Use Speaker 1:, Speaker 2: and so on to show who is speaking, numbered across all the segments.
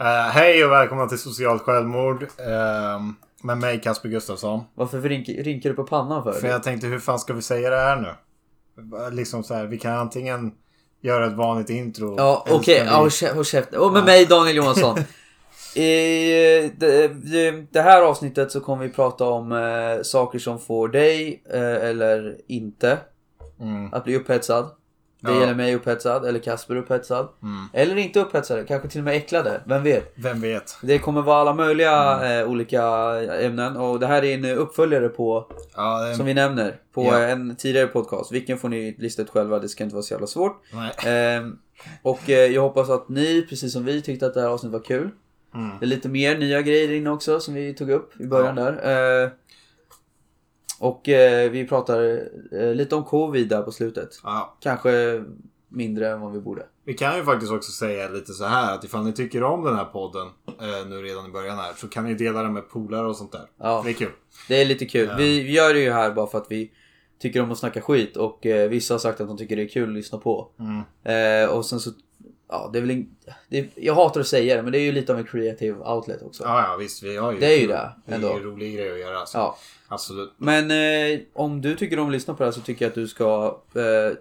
Speaker 1: Eh, hej och välkomna till Socialt Självmord. ehm, med mig Kasper Gustafsson.
Speaker 2: Varför rynk- rynkar du på pannan för?
Speaker 1: För jag tänkte hur fan ska vi säga det här nu? Liksom så här, vi kan antingen göra ett vanligt intro.
Speaker 2: Ja,
Speaker 1: eller
Speaker 2: okej.
Speaker 1: ska vi-
Speaker 2: Ja, håll kä- håll käften. Och med mig Daniel Johansson. I det, det- det här avsnittet så kommer vi prata om eh, saker som får dig eh, eller inte
Speaker 1: Mm,
Speaker 2: att bli upphetsad. Det
Speaker 1: Ja.
Speaker 2: gäller mig upphetsad eller Kasper upphetsad.
Speaker 1: mm.
Speaker 2: Eller inte upphetsade, kanske till och med äcklade. Vem vet?
Speaker 1: Vem vet?
Speaker 2: Det kommer vara alla möjliga
Speaker 1: Mm.
Speaker 2: eh, olika ämnen och det här är en eh, uppföljare på
Speaker 1: Ja, det,
Speaker 2: som vi nämner på
Speaker 1: Ja.
Speaker 2: en tidigare podcast. Vilken får ni lista ut själva, det ska inte vara så jävla svårt.
Speaker 1: nej.
Speaker 2: Ehm, och eh, jag hoppas att ni, precis som vi, tyckte att det här avsnittet var kul.
Speaker 1: Mm.
Speaker 2: Det är lite mer nya grejer inne också som vi tog upp i början där. Ehm, och eh, vi pratar eh, lite om covid där på slutet.
Speaker 1: Ja,
Speaker 2: Kanske mindre än vad vi borde.
Speaker 1: vi kan ju faktiskt också säga lite så här att ifall ni tycker om den här podden eh, nu redan i början här så kan ni dela den med polare och sånt där.
Speaker 2: Ja,
Speaker 1: Det är kul.
Speaker 2: det är lite kul.
Speaker 1: Ja.
Speaker 2: Vi vi gör det ju här bara för att vi tycker om att snacka skit och eh, vissa har sagt att de tycker det är kul att lyssna på.
Speaker 1: Mm.
Speaker 2: Eh, och sen så, ja det är väl in, det, Jag hatar att säga det men det är ju lite av en creative outlet också.
Speaker 1: Ja, ja, visst. Vi har ju
Speaker 2: Det är ju
Speaker 1: kul.
Speaker 2: det,
Speaker 1: Det är ju
Speaker 2: ändå.
Speaker 1: en rolig grej att göra. Alltså.
Speaker 2: Ja.
Speaker 1: Absolut.
Speaker 2: Men eh, om du tycker om att lyssna på det här så tycker jag att du ska eh, eh,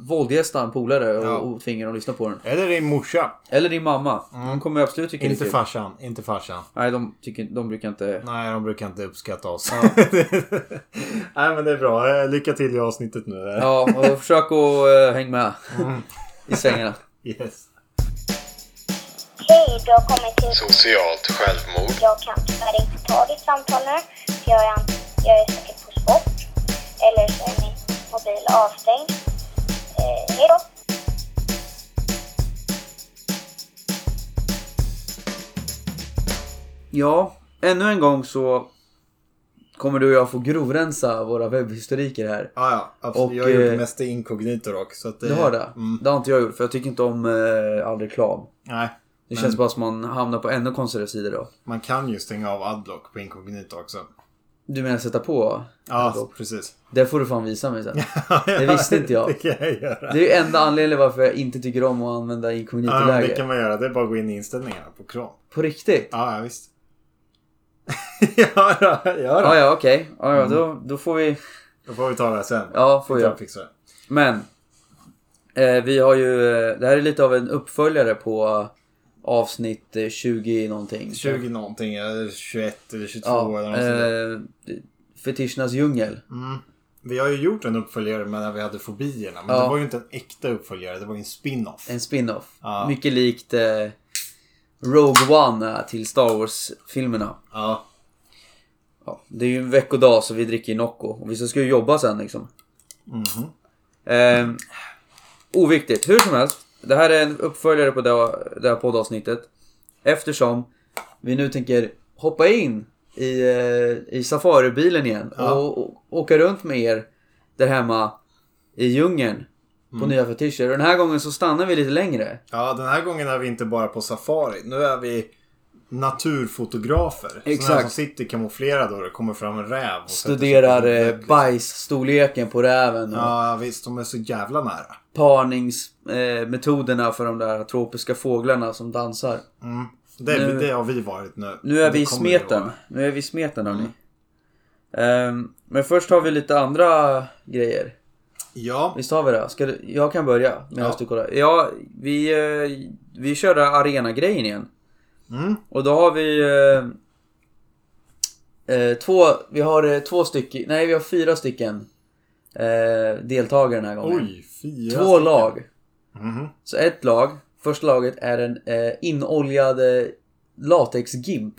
Speaker 2: våldgästa en polare och,
Speaker 1: Ja.
Speaker 2: och tvinga dem att lyssna på den.
Speaker 1: Eller din morsa.
Speaker 2: Eller din mamma. Hon kommer absolut tycka
Speaker 1: Mm. Inte
Speaker 2: det är kul.
Speaker 1: farsan. Inte farsan.
Speaker 2: Nej, de, tycker, de brukar inte...
Speaker 1: Nej, de brukar inte uppskatta oss. Nej, men det är bra. Eh, Lycka till i avsnittet nu. eh.
Speaker 2: Ja, och försök att eh, hänga med
Speaker 1: Mm.
Speaker 2: i svängarna.
Speaker 1: Yes.
Speaker 3: Hej, du har kommit till...
Speaker 4: Socialt självmord.
Speaker 3: Jag kan tyvärr inte ta ditt samtal nu. För jag är, jag är säkert på sport. Eller så är min mobil avstängd. Eh, hej då!
Speaker 2: Ja, ännu en gång så kommer du och jag få grovrensa våra webbhistoriker här.
Speaker 1: Ja, ja. Absolut.
Speaker 2: Och,
Speaker 1: jag har gjort
Speaker 2: eh,
Speaker 1: det mesta inkognito dock. Så att det,
Speaker 2: Du har det?
Speaker 1: Mm,
Speaker 2: Det har inte jag gjort för jag tycker inte om eh, all reklam.
Speaker 1: nej.
Speaker 2: Det
Speaker 1: Men-
Speaker 2: känns bara som man hamnar på ännu konstigare sidor då.
Speaker 1: Man kan ju stänga av Adblock på inkognito också.
Speaker 2: Du menar sätta på?
Speaker 1: Ja,
Speaker 2: Adblock?
Speaker 1: precis.
Speaker 2: Det får du fan visa mig sen. Det visste inte jag.
Speaker 1: det kan jag göra.
Speaker 2: Det är ju enda anledningen varför jag inte tycker om att använda
Speaker 1: Ja, men det
Speaker 2: inkognitoläge.
Speaker 1: kan man göra. Det är bara att gå in i inställningarna på Chrome.
Speaker 2: På riktigt?
Speaker 1: Ja, ja visst. ja, då, ja,
Speaker 2: Ja,
Speaker 1: då.
Speaker 2: ja, okej. Ja, ja,
Speaker 1: Mm.
Speaker 2: då, då får vi...
Speaker 1: Då får vi ta det här sen.
Speaker 2: Ja, får
Speaker 1: Vi kan
Speaker 2: jag.
Speaker 1: fixa det.
Speaker 2: Men. Eh, vi har ju... eh, Det här är lite av en uppföljare på eh, avsnitt eh, 20 någonting.
Speaker 1: 20 någonting, eller 21 eller 22 eller
Speaker 2: Ja.
Speaker 1: något sånt där.
Speaker 2: Eh, Fetischernas djungel.
Speaker 1: Mm. Vi har ju gjort en uppföljare med när vi hade fobierna. Men
Speaker 2: Ja.
Speaker 1: det var ju inte en äkta uppföljare. Det var ju en spin-off.
Speaker 2: En spin-off.
Speaker 1: Ja.
Speaker 2: Mycket likt eh, Rogue One eh, till Star Wars-filmerna.
Speaker 1: Ja.
Speaker 2: Ja, det är ju en veckodag så vi dricker Nocco. Och vi ska ju jobba sen liksom.
Speaker 1: Mhm.
Speaker 2: Ehm, oviktigt. Hur som helst. Det här är en uppföljare på det, det här poddavsnittet. Eftersom vi nu tänker hoppa in i, eh, i safaribilen igen.
Speaker 1: Ja.
Speaker 2: Och, och åka runt med er där hemma i djungeln. På
Speaker 1: Mm.
Speaker 2: nya fetischer. Och den här gången så stannar vi lite längre.
Speaker 1: ja, den här gången är vi inte bara på safari. Nu är vi naturfotografer. Sådana här
Speaker 2: Exakt.
Speaker 1: som sitter kamouflerade och det kommer fram en räv. Och sätter sig på
Speaker 2: Studerar
Speaker 1: en
Speaker 2: eh,
Speaker 1: bäck, liksom.
Speaker 2: bajsstorleken på räven. Och
Speaker 1: Ja, visst. De är så jävla nära.
Speaker 2: parningsmetoderna eh, metoderna för de där tropiska fåglarna som dansar.
Speaker 1: Mm. Det,
Speaker 2: Nu-
Speaker 1: det har vi varit nu.
Speaker 2: Nu är
Speaker 1: Det
Speaker 2: vi i
Speaker 1: kommer Mm. vi
Speaker 2: smeten.
Speaker 1: vara.
Speaker 2: Nu är vi i smeten hörni. Ehm, men först har vi lite andra grejer.
Speaker 1: Ja.
Speaker 2: Visst har vi det? Ska du, jag kan börja medan
Speaker 1: Ja.
Speaker 2: du kollar. Ja, vi, eh, vi körde arenagrejen igen.
Speaker 1: Mm.
Speaker 2: Och då har vi... Eh, eh, två, vi har eh, två stycken, nej vi har fyra stycken eh, deltagare den här gången.
Speaker 1: Oj, fyra
Speaker 2: två
Speaker 1: stycken.
Speaker 2: lag.
Speaker 1: Mhm.
Speaker 2: Så ett lag, första laget är en eh, inoljad eh, latexgimp.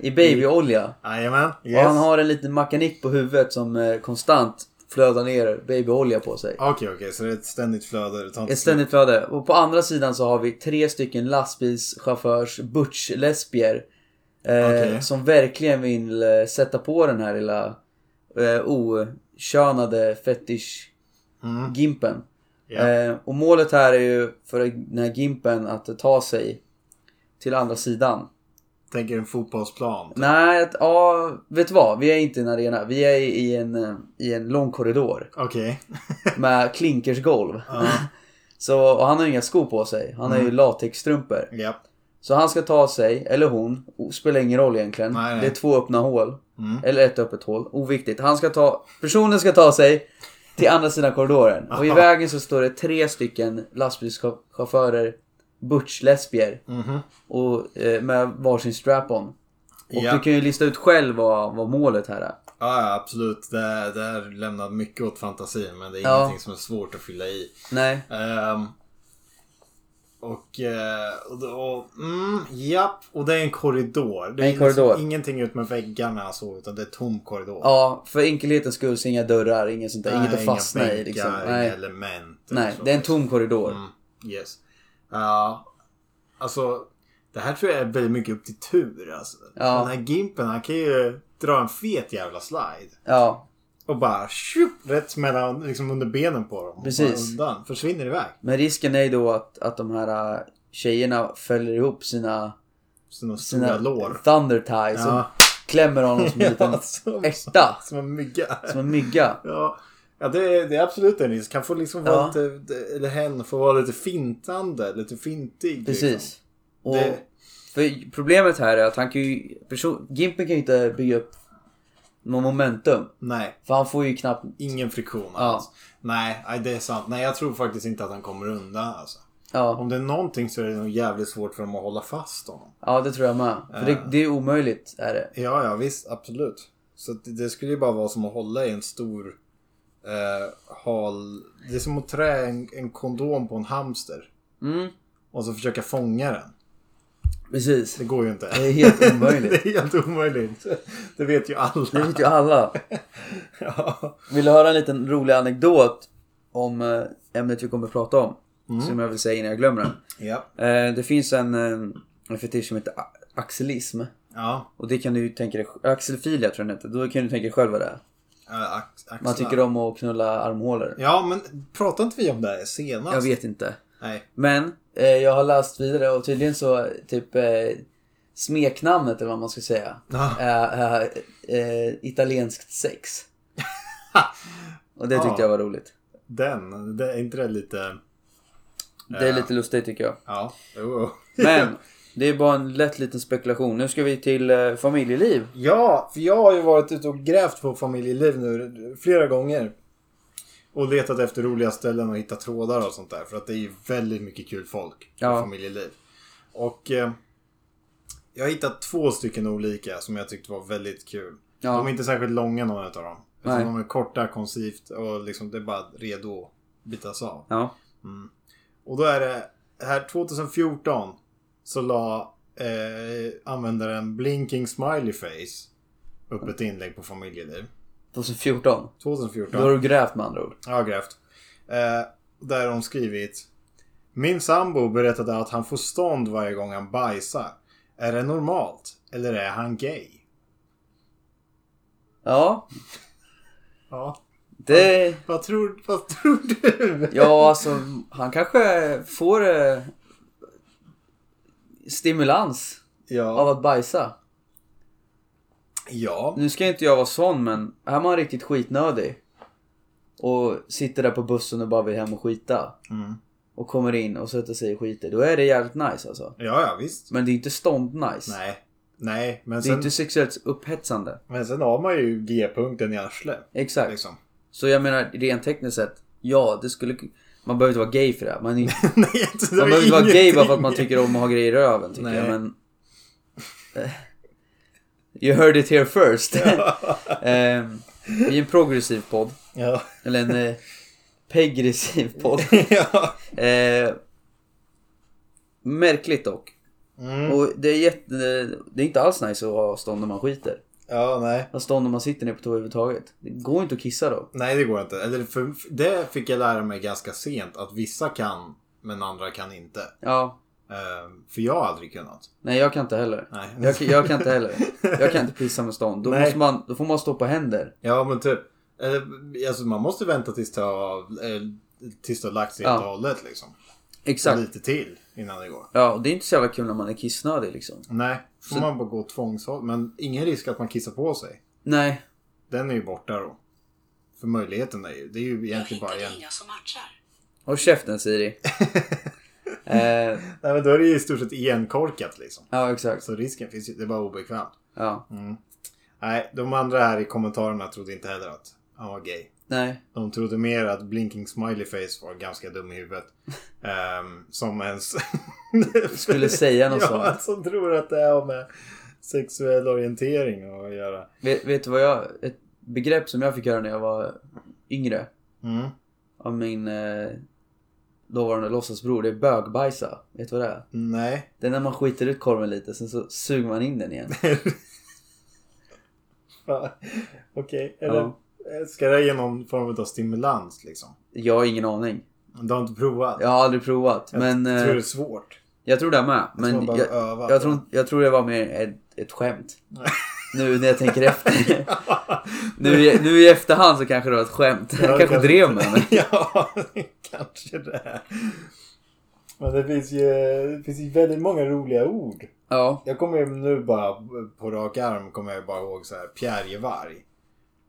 Speaker 2: I babyolja.
Speaker 1: Jajamän.
Speaker 2: Och
Speaker 1: Yes.
Speaker 2: han har en liten makanik på huvudet som eh, konstant flödar ner babyolja på sig.
Speaker 1: Okej, okej. Så det är ett ständigt flöde. Det tar inte
Speaker 2: Ett ständigt flöde. Och på andra sidan så har vi tre stycken lastbilschaufförs butch-lesbier. Eh,
Speaker 1: Okej.
Speaker 2: Som verkligen vill eh, sätta på den här lilla eh, okönade fetish-gimpen.
Speaker 1: Mm. Ja.
Speaker 2: Eh, och målet här är ju för den här gimpen att ta sig till andra sidan.
Speaker 1: Tänker en fotbollsplan.
Speaker 2: Nej, att- ja, vet du vad? Vi är inte i en arena. Vi är i i en, eh, i en lång korridor
Speaker 1: Okej.
Speaker 2: med klinkersgolv.
Speaker 1: Ja. Mm.
Speaker 2: Så, och han har inga skor på sig. Han har ju latexstrumpor.
Speaker 1: Ja.
Speaker 2: Så han ska ta sig, eller hon, o- spelar ingen roll egentligen.
Speaker 1: Nej, nej.
Speaker 2: Det är två öppna hål.
Speaker 1: Mm.
Speaker 2: Eller ett öppet hål, oviktigt. Han ska ta, personen ska ta sig till andra sidan korridoren. Och i
Speaker 1: Aha.
Speaker 2: vägen så står det tre stycken lastbilschaufförer, butch-lesbier.
Speaker 1: Mhm.
Speaker 2: Och eh, med varsin strap-on. Och
Speaker 1: Ja.
Speaker 2: du kan ju lista ut själv vad, vad målet här är.
Speaker 1: Ja, ja, absolut. Det, det här lämnar mycket åt fantasin men det är
Speaker 2: Ja.
Speaker 1: ingenting som är svårt att fylla i.
Speaker 2: Nej.
Speaker 1: Ehm, och, eh, och, då- och mm, japp, och det är en korridor. Det är
Speaker 2: En
Speaker 1: ingen-
Speaker 2: korridor.
Speaker 1: ingenting ut med väggarna så, utan det är tom korridor.
Speaker 2: Ja, för enkelhetens skull så inga dörrar, inget sånt där.
Speaker 1: Nej,
Speaker 2: inget att fastna
Speaker 1: inga
Speaker 2: i liksom.
Speaker 1: bänkar,
Speaker 2: Nej.
Speaker 1: Inga element. eller
Speaker 2: Nej,
Speaker 1: så.
Speaker 2: det är en tom korridor.
Speaker 1: Mm, yes. Ja, alltså, det här tror jag är väldigt mycket upp till tur. Alltså.
Speaker 2: Ja.
Speaker 1: Den här Gimpen, han kan ju dra en fet jävla slide.
Speaker 2: Ja,
Speaker 1: Och bara tjup, rätt mellan, liksom under benen på dem.
Speaker 2: Precis.
Speaker 1: Bara Undan, försvinner iväg.
Speaker 2: men risken är ju då att, att de här äh, tjejerna fäller ihop sina,
Speaker 1: Sina stora
Speaker 2: sina
Speaker 1: lår.
Speaker 2: thunder ties
Speaker 1: Ja.
Speaker 2: och klämmer honom som en liten
Speaker 1: Ja, som-
Speaker 2: ärta.
Speaker 1: Som en mygga.
Speaker 2: Som en mygga.
Speaker 1: Ja, ja det, är, det är absolut en risk. Han får liksom vara
Speaker 2: Ja.
Speaker 1: lite, det- eller hen får vara lite fintande, lite fintig. Liksom.
Speaker 2: Precis. Och
Speaker 1: Det-
Speaker 2: för problemet här är att han kan ju, person, Gimpen kan ju inte bygga upp någon momentum.
Speaker 1: Nej,
Speaker 2: För han får ju knappt...
Speaker 1: ingen friktion alls. Nej, nej, det är sant. Nej, jag tror faktiskt inte att han kommer undan alltså.
Speaker 2: Ja,
Speaker 1: Om det är någonting så är det nog jävligt svårt för dem att hålla fast honom.
Speaker 2: ja det tror jag med. För det, det är omöjligt, är det.
Speaker 1: Ja, ja visst. Absolut. Så att det, det skulle ju bara vara som att hålla i en stor eh, hal... Det är som att trä en, en kondom på en hamster.
Speaker 2: Mm,
Speaker 1: Och så försöka fånga den.
Speaker 2: precis.
Speaker 1: Det går ju inte.
Speaker 2: Det är helt omöjligt.
Speaker 1: det är helt omöjligt. Det vet ju
Speaker 2: Det
Speaker 1: alla.
Speaker 2: vet ju alla.
Speaker 1: Ja.
Speaker 2: Vill du höra en liten rolig anekdot om eh, ämnet vi kommer att prata om?
Speaker 1: Mm.
Speaker 2: Som jag vill säga innan jag glömmer den.
Speaker 1: Ja.
Speaker 2: Eh, Det finns en, eh, en fetisch som heter a- axelism.
Speaker 1: ja.
Speaker 2: Och det kan du ju tänka dig, axelfilia tror jag den heter. Då kan du tänka dig själv vad det är.
Speaker 1: Äh, ax- axlar.
Speaker 2: Man tycker om att knulla armhålor.
Speaker 1: Ja, men pratar inte vi om det här senast?
Speaker 2: Jag vet inte.
Speaker 1: Nej.
Speaker 2: Men eh, jag har läst vidare och tydligen så typ eh, smeknamnet eller vad man ska säga.
Speaker 1: Ja.
Speaker 2: Är eh, eh, italienskt sex. och det
Speaker 1: Ja.
Speaker 2: tyckte jag var roligt.
Speaker 1: Den. Det, är inte det lite...
Speaker 2: Det är lite lustigt tycker jag.
Speaker 1: Ja. Jo.
Speaker 2: Men det är bara en lätt liten spekulation. Nu ska vi till eh, familjeliv.
Speaker 1: Ja, för jag har ju varit ute och grävt på familjeliv nu flera gånger. Och letat efter roliga ställen och hittat trådar och sånt där. För att det är ju väldigt mycket kul folk på
Speaker 2: Ja.
Speaker 1: familjeliv. Och eh, jag har hittat två stycken olika som jag tyckte var väldigt kul.
Speaker 2: Ja.
Speaker 1: De är inte särskilt långa någon av dem. Utan
Speaker 2: Nej.
Speaker 1: de är korta, koncist och liksom det är bara redo att bitas av.
Speaker 2: Ja.
Speaker 1: Och då är det här 2014 så la eh, användaren Blinking Smiley Face upp ett inlägg på familjeliv.
Speaker 2: 2014. Då har
Speaker 1: 2014.
Speaker 2: du grävt med andra ord.
Speaker 1: Jag har grävt. Eh, där har de skrivit. Min sambo berättade att han får stånd varje gång han bajsar. Är det normalt? Eller är han gay?
Speaker 2: Ja.
Speaker 1: Ja.
Speaker 2: Det...
Speaker 1: Vad tror, vad tror du?
Speaker 2: Ja, alltså han kanske får eh, stimulans av
Speaker 1: Ja.
Speaker 2: att bajsa.
Speaker 1: Ja.
Speaker 2: Nu ska inte jag vara sån, men här var han riktigt skitnödig. Och sitter där på bussen och bara vill hem och skita.
Speaker 1: Mm.
Speaker 2: Och kommer in och sätter sig och skiter. Då är det jävligt nice alltså.
Speaker 1: Ja, ja visst.
Speaker 2: Men det är inte stånd-nice.
Speaker 1: Nej. Nej, men
Speaker 2: Det är
Speaker 1: sen,
Speaker 2: inte sexuellt upphetsande.
Speaker 1: men sen har man ju G-punkten i arslet.
Speaker 2: Exakt.
Speaker 1: Liksom.
Speaker 2: Så jag menar, rent tekniskt sett, ja, det skulle... Man behöver inte vara gay för det. Man, är inte-
Speaker 1: Nej, det
Speaker 2: man
Speaker 1: har
Speaker 2: behöver inte vara gay bara för att
Speaker 1: ingenting.
Speaker 2: man tycker om att ha grejer i röven, tycker
Speaker 1: Nej.
Speaker 2: jag. Men... Eh, You heard it here first. Ehm, vi är en progressiv podd.
Speaker 1: Ja.
Speaker 2: Eller en eh, pegressiv podd.
Speaker 1: ja.
Speaker 2: Eh, märkligt dock.
Speaker 1: Mm.
Speaker 2: Och det är, jätte, det är inte alls nice att ha stånd när man skiter.
Speaker 1: ja, nej.
Speaker 2: Ha stånd när man sitter ner på toa överhuvudtaget. Det går inte att kissa då.
Speaker 1: Nej, det går inte. Eller för, för- det fick jag lära mig ganska sent. Att vissa kan, men andra kan inte.
Speaker 2: Ja,
Speaker 1: Ehm, för jag har aldrig kunnat.
Speaker 2: nej jag kan inte heller.
Speaker 1: Nej.
Speaker 2: Jag, jag kan inte heller. Jag kan inte pissa med stånd. Då,
Speaker 1: Nej.
Speaker 2: måste man, då får man stå på händer.
Speaker 1: Ja, men typ. Eller, alltså, man måste vänta tills det har, eh, tills det har lagt sig helt och
Speaker 2: Ja.
Speaker 1: hållet. Liksom. Och
Speaker 2: Exakt.
Speaker 1: Lite till innan det går.
Speaker 2: Ja, och det är inte så jävla kul när man är kissnödig liksom.
Speaker 1: Nej, får man bara gå tvångshåll. Men ingen risk att man kissar på sig.
Speaker 2: Nej,
Speaker 1: Den är ju borta då. För möjligheten är ju, det är ju
Speaker 4: Jag
Speaker 1: egentligen bara
Speaker 4: hittade
Speaker 1: en...
Speaker 4: inga som matchar.
Speaker 2: håll käften Siri. Eh,
Speaker 1: Nej, men då är det ju i stort sett igenkorkat liksom.
Speaker 2: ja, exakt.
Speaker 1: Så risken finns ju. Det är bara obekvämt.
Speaker 2: Ja.
Speaker 1: Nej, de andra här i kommentarerna trodde inte heller att han var gay.
Speaker 2: Nej.
Speaker 1: De trodde mer att Blinking Smiley Face var ganska dum i huvudet. Ehm, som ens...
Speaker 2: Skulle säga något
Speaker 1: ja,
Speaker 2: sånt.
Speaker 1: som tror att det har med sexuell orientering att göra.
Speaker 2: Vet, vet du vad jag... Ett begrepp som jag fick höra när jag var yngre
Speaker 1: Mm.
Speaker 2: av min eh, dåvarande låtsasbror, det är bögbajsa. Vet du vad det är?
Speaker 1: Nej.
Speaker 2: Det är när man skiter ut korven lite, sen så suger man in den igen.
Speaker 1: Fan. Okej, eller
Speaker 2: Ja.
Speaker 1: ska det ge någon form av stimulans liksom?
Speaker 2: Jag har ingen aning.
Speaker 1: Du har inte provat?
Speaker 2: Jag har aldrig provat.
Speaker 1: jag
Speaker 2: men
Speaker 1: tror det är
Speaker 2: eh,
Speaker 1: svårt.
Speaker 2: jag tror det är med.
Speaker 1: tror
Speaker 2: Men
Speaker 1: man
Speaker 2: jag,
Speaker 1: behöver öva.
Speaker 2: jag, tror, inte- jag tror det var mer ett, ett skämt.
Speaker 1: Nej.
Speaker 2: Nu när jag tänker efter. nu, i- nu i efterhand så kanske det var ett skämt.
Speaker 1: Ja,
Speaker 2: Jag kanske
Speaker 1: kanske.
Speaker 2: drev med mig.
Speaker 1: ja, kanske det. är. Men det finns, ju, det finns ju väldigt många roliga ord.
Speaker 2: Ja.
Speaker 1: Jag kommer ju nu bara på rak arm kommer jag bara ihåg så här pjärjevarg.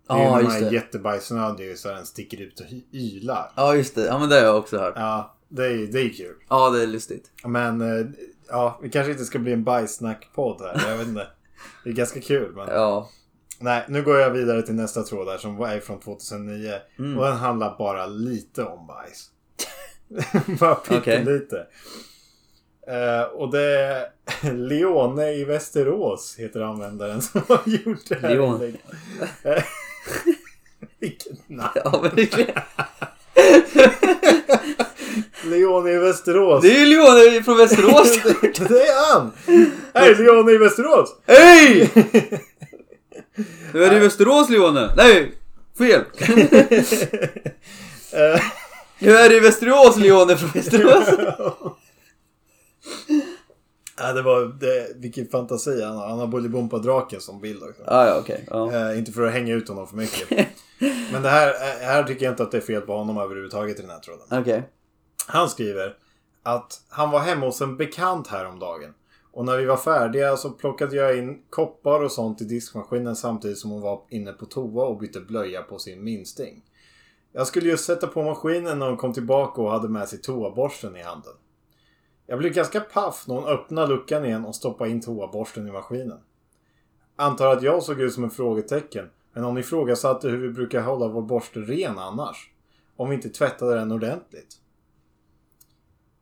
Speaker 1: Det är ju
Speaker 2: Ja,
Speaker 1: de
Speaker 2: just
Speaker 1: här
Speaker 2: det.
Speaker 1: jättebajsnödiga så den sticker ut och hy- ylar.
Speaker 2: Ja just det, ja men det har jag också hört.
Speaker 1: Ja, det är, det är kul.
Speaker 2: Ja det är lustigt.
Speaker 1: Men eh, ja, vi kanske inte ska bli en bajssnackpodd här. Jag vet inte. Det är ganska kul. Men...
Speaker 2: Ja.
Speaker 1: Nej, nu går jag vidare till nästa tråd där som är från 2009. Och den handlar bara lite om bajs. bara pyttelite. Eh, och det är Leone i Västerås heter användaren som har gjort det här.
Speaker 2: Leone.
Speaker 1: inlägget. Eh, Vilket namn.
Speaker 2: Ja verkligen.
Speaker 1: Leone i Västerås.
Speaker 2: Det är ju Leone från Västerås!
Speaker 1: det är han! Hej, Leone i Västerås!
Speaker 2: Hej! Nu är det i Västerås Leone! Nej! Fel!
Speaker 1: Eh,
Speaker 2: Nu är det i Västerås Leone från Västerås!
Speaker 1: ja, det var, det, vilken fantasi han har. Han har Bolibompa-draken som bild också.
Speaker 2: Ah, ja okej. Ja.
Speaker 1: Eh, inte för att hänga ut honom för mycket. Men det här, eh, här tycker jag inte att det är fel på honom överhuvudtaget i den här tråden.
Speaker 2: Okej.
Speaker 1: Han skriver att han var hemma hos en bekant häromdagen. Och när vi var färdiga så plockade jag in koppar och sånt i diskmaskinen samtidigt som hon var inne på toa och bytte blöja på sin minsting. Jag skulle just sätta på maskinen när hon kom tillbaka och hade med sig toaborsten i handen. Jag blev ganska paff när hon öppnade luckan igen och stoppade in toaborsten i maskinen. Antar att jag såg ut som en frågetecken, men hon ifrågasatte hur vi brukar hålla vår borste ren annars. Om vi inte tvättade den ordentligt.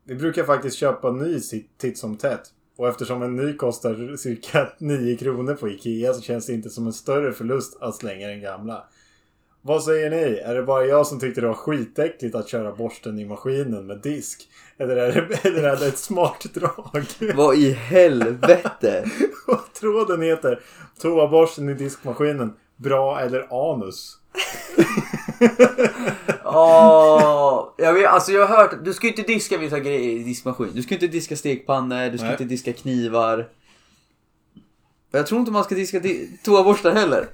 Speaker 1: Vi brukar faktiskt köpa ny si- titt som tätt. Och eftersom en ny kostar cirka 9 kronor på Ikea så känns det inte som en större förlust att slänga den gamla. Vad säger ni? Är det bara jag som tyckte det var skitäckligt att köra borsten i maskinen med disk? Eller är det, eller är det ett smart drag?
Speaker 2: Vad i helvete!
Speaker 1: Och tråden heter Toaborsten i diskmaskinen. Bra eller anus?
Speaker 2: Åh, jag vet, alltså jag har hört, du ska ju inte diska vissa grejer i diskmaskin. Du ska ju inte diska stekpannor, du ska
Speaker 1: Nej.
Speaker 2: inte diska knivar. Jag tror inte man ska diska di- toaborstar heller.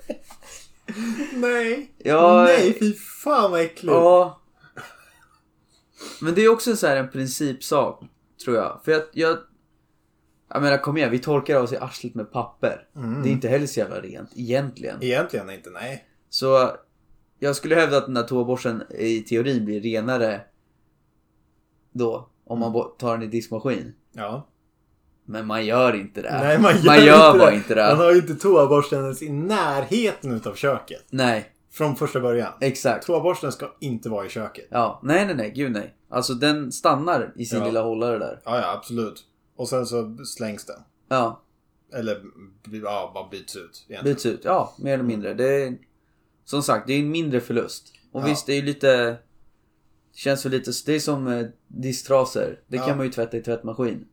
Speaker 1: Nej!
Speaker 2: Ja,
Speaker 1: Nej, fy fan vad äckligt!
Speaker 2: Ja. Men det är också så här en principsak, tror jag. För jag, jag, jag menar kom igen, vi torkar av oss i arslet med papper.
Speaker 1: Mm.
Speaker 2: Det är inte heller så jävla rent, egentligen.
Speaker 1: Egentligen inte, nej.
Speaker 2: Så jag skulle hävda att den här toaborsten i teorin blir renare då, om man bo- tar den i diskmaskin.
Speaker 1: Ja.
Speaker 2: Men man gör inte det.
Speaker 1: Nej, man gör, Alltså-
Speaker 2: bara inte det.
Speaker 1: Man har ju inte toaborsten ens i närheten utav köket.
Speaker 2: Nej,
Speaker 1: Från första början.
Speaker 2: exakt.
Speaker 1: Toaborsten ska inte vara i köket.
Speaker 2: Ja, nej, nej, nej, gud nej. Alltså den stannar i sin
Speaker 1: Ja.
Speaker 2: lilla hållare där.
Speaker 1: Ja, ja, absolut. Och sen så slängs den.
Speaker 2: Ja,
Speaker 1: Eller, ja, bara byts ut. Egentligen.
Speaker 2: byts ut. Ja, mer eller mindre. Det är, som sagt, det är en mindre förlust. Och
Speaker 1: Ja.
Speaker 2: visst, det är ju lite... Det känns ju lite... Det är som eh, disktrasor. Det
Speaker 1: Ja.
Speaker 2: kan man ju tvätta i tvättmaskin.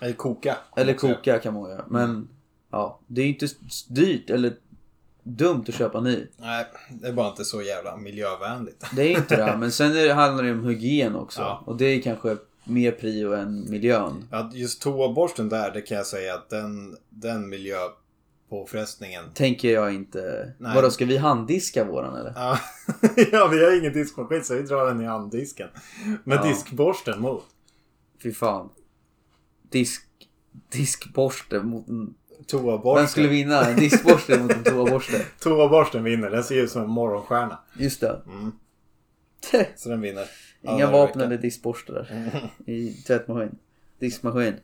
Speaker 1: Eller koka.
Speaker 2: Eller koka kan man göra. Men ja, det är ju inte s- dyrt eller dumt att köpa ny.
Speaker 1: Nej, det är bara inte så jävla miljövänligt.
Speaker 2: Det är ju inte det. här, Men sen är, det- handlar det ju om hygien också.
Speaker 1: Ja.
Speaker 2: Och det är kanske mer prio än miljön.
Speaker 1: Ja, just toaborsten där, det kan jag säga att den, den miljöpåfrestningen.
Speaker 2: Tänker jag inte.
Speaker 1: Nej.
Speaker 2: Vadå, ska vi handdiska våran eller?
Speaker 1: Ja, ja, vi har ingen diskmaskin så vi drar den i handdisken. Med
Speaker 2: Ja.
Speaker 1: diskborsten mot.
Speaker 2: Fy fan. Disk... Diskborste mot en
Speaker 1: Toaborsten.
Speaker 2: Vem skulle vinna? En diskborste mot en toaborste?
Speaker 1: Toaborsten vinner. Den ser ut som en morgonstjärna.
Speaker 2: Just det.
Speaker 1: Så den vinner. Ja,
Speaker 2: Inga
Speaker 1: det
Speaker 2: vapen
Speaker 1: verkar.
Speaker 2: eller diskborstar i tvättmaskin. Diskmaskin.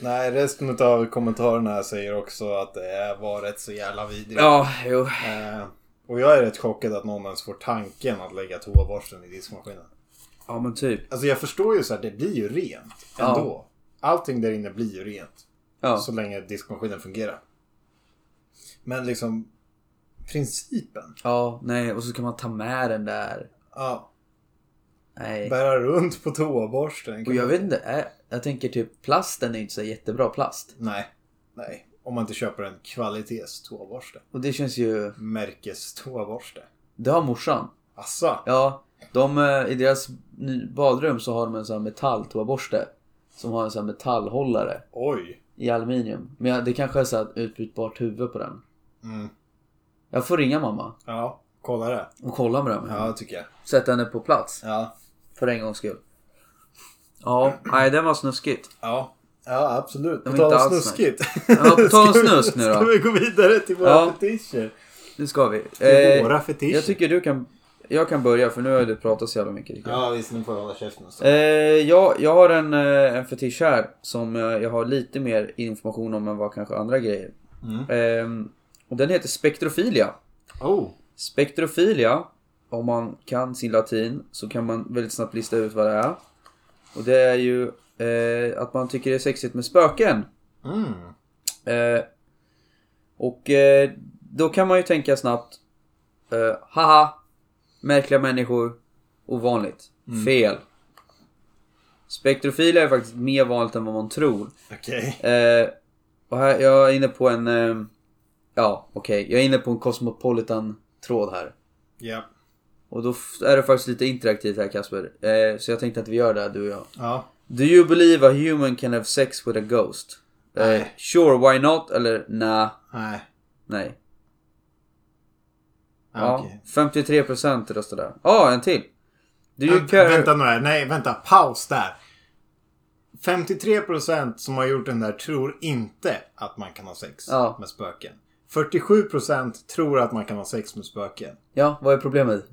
Speaker 1: Nej, resten av kommentarerna här säger också att det var rätt så jävla vidrigt.
Speaker 2: Ja, jo.
Speaker 1: Eh, och jag är rätt chockad att någon ens får tanken att lägga toaborsten i diskmaskinen.
Speaker 2: Ja, men typ.
Speaker 1: Alltså jag förstår ju så här, det blir ju rent
Speaker 2: Ja.
Speaker 1: ändå. Allting där inne blir ju rent.
Speaker 2: Ja.
Speaker 1: Så länge diskmaskinen fungerar. Men liksom principen.
Speaker 2: ja, nej. Och så kan man ta med den där.
Speaker 1: Ja,
Speaker 2: Nej.
Speaker 1: bära runt på toaborsten.
Speaker 2: Och jag vet inte. Äh, jag tänker typ plasten är ju inte så jättebra plast.
Speaker 1: Nej, nej. Om man inte köper en kvalitetstoaborste.
Speaker 2: Och det känns ju...
Speaker 1: Märkestoaborste.
Speaker 2: Det har morsan.
Speaker 1: Assa.
Speaker 2: Ja, de, eh, i deras ny- badrum så har de en sån här metalltoaborste. Som har en sån här metallhållare
Speaker 1: Oj.
Speaker 2: i aluminium. Men ja, det kanske är så här ett utbytbart huvud på den.
Speaker 1: Mm.
Speaker 2: Jag får ringa mamma
Speaker 1: Ja, kolla det.
Speaker 2: och kolla med dem.
Speaker 1: Ja, det tycker jag.
Speaker 2: Sätta henne på plats.
Speaker 1: Ja,
Speaker 2: För en gångs skull. Ja, nej den var snuskigt.
Speaker 1: ja. Ja, absolut. På
Speaker 2: var
Speaker 1: tal
Speaker 2: inte
Speaker 1: om
Speaker 2: alls
Speaker 1: snuskigt.
Speaker 2: Ja, på tal om
Speaker 1: Ska vi-
Speaker 2: snusk nu då.
Speaker 1: Ska vi gå vidare till våra
Speaker 2: Ja.
Speaker 1: fetischer?
Speaker 2: Nu ska vi.
Speaker 1: Till
Speaker 2: Eh,
Speaker 1: våra fetischer?
Speaker 2: jag tycker du kan... Jag kan börja för nu har du pratat så jävla mycket. tycker jag.
Speaker 1: Ja, visst. Nu får jag hålla käften och så.
Speaker 2: Eh, jag, jag har en, eh, en fetisch här som eh, jag har lite mer information om än vad kanske andra grejer. Eh, och den heter spektrofilia.
Speaker 1: Oh.
Speaker 2: Spektrofilia, om man kan sin latin så kan man väldigt snabbt lista ut vad det är. Och det är ju eh, att man tycker det är sexigt med spöken.
Speaker 1: Mm.
Speaker 2: Eh, och eh, då kan man ju tänka snabbt, eh, haha, märkliga människor, ovanligt, fel. Spektrofila är faktiskt mer vanligt än vad man tror.
Speaker 1: Okej.
Speaker 2: Eh, och här, jag är inne på en, eh, ja okej, jag är inne på en cosmopolitan tråd här.
Speaker 1: Ja.
Speaker 2: Och då f- är det faktiskt lite interaktivt här Kasper. Eh, så jag tänkte att vi gör det här du och jag.
Speaker 1: Ja.
Speaker 2: Do you believe a human can have sex with a ghost? Eh,
Speaker 1: Nej.
Speaker 2: sure, why not? Eller nah,
Speaker 1: Nej.
Speaker 2: nej.
Speaker 1: Ja,
Speaker 2: Ja,
Speaker 1: Ah, okej.
Speaker 2: 53% röstar där. Ja, en till. Do you
Speaker 1: Vänta,
Speaker 2: care...
Speaker 1: Ah, vänta nu här. Nej, vänta. Paus där. 53% som har gjort den där tror inte att man kan ha sex
Speaker 2: Ja.
Speaker 1: med spöken. 47% tror att man kan ha sex med spöken.
Speaker 2: Ja, vad är problemet?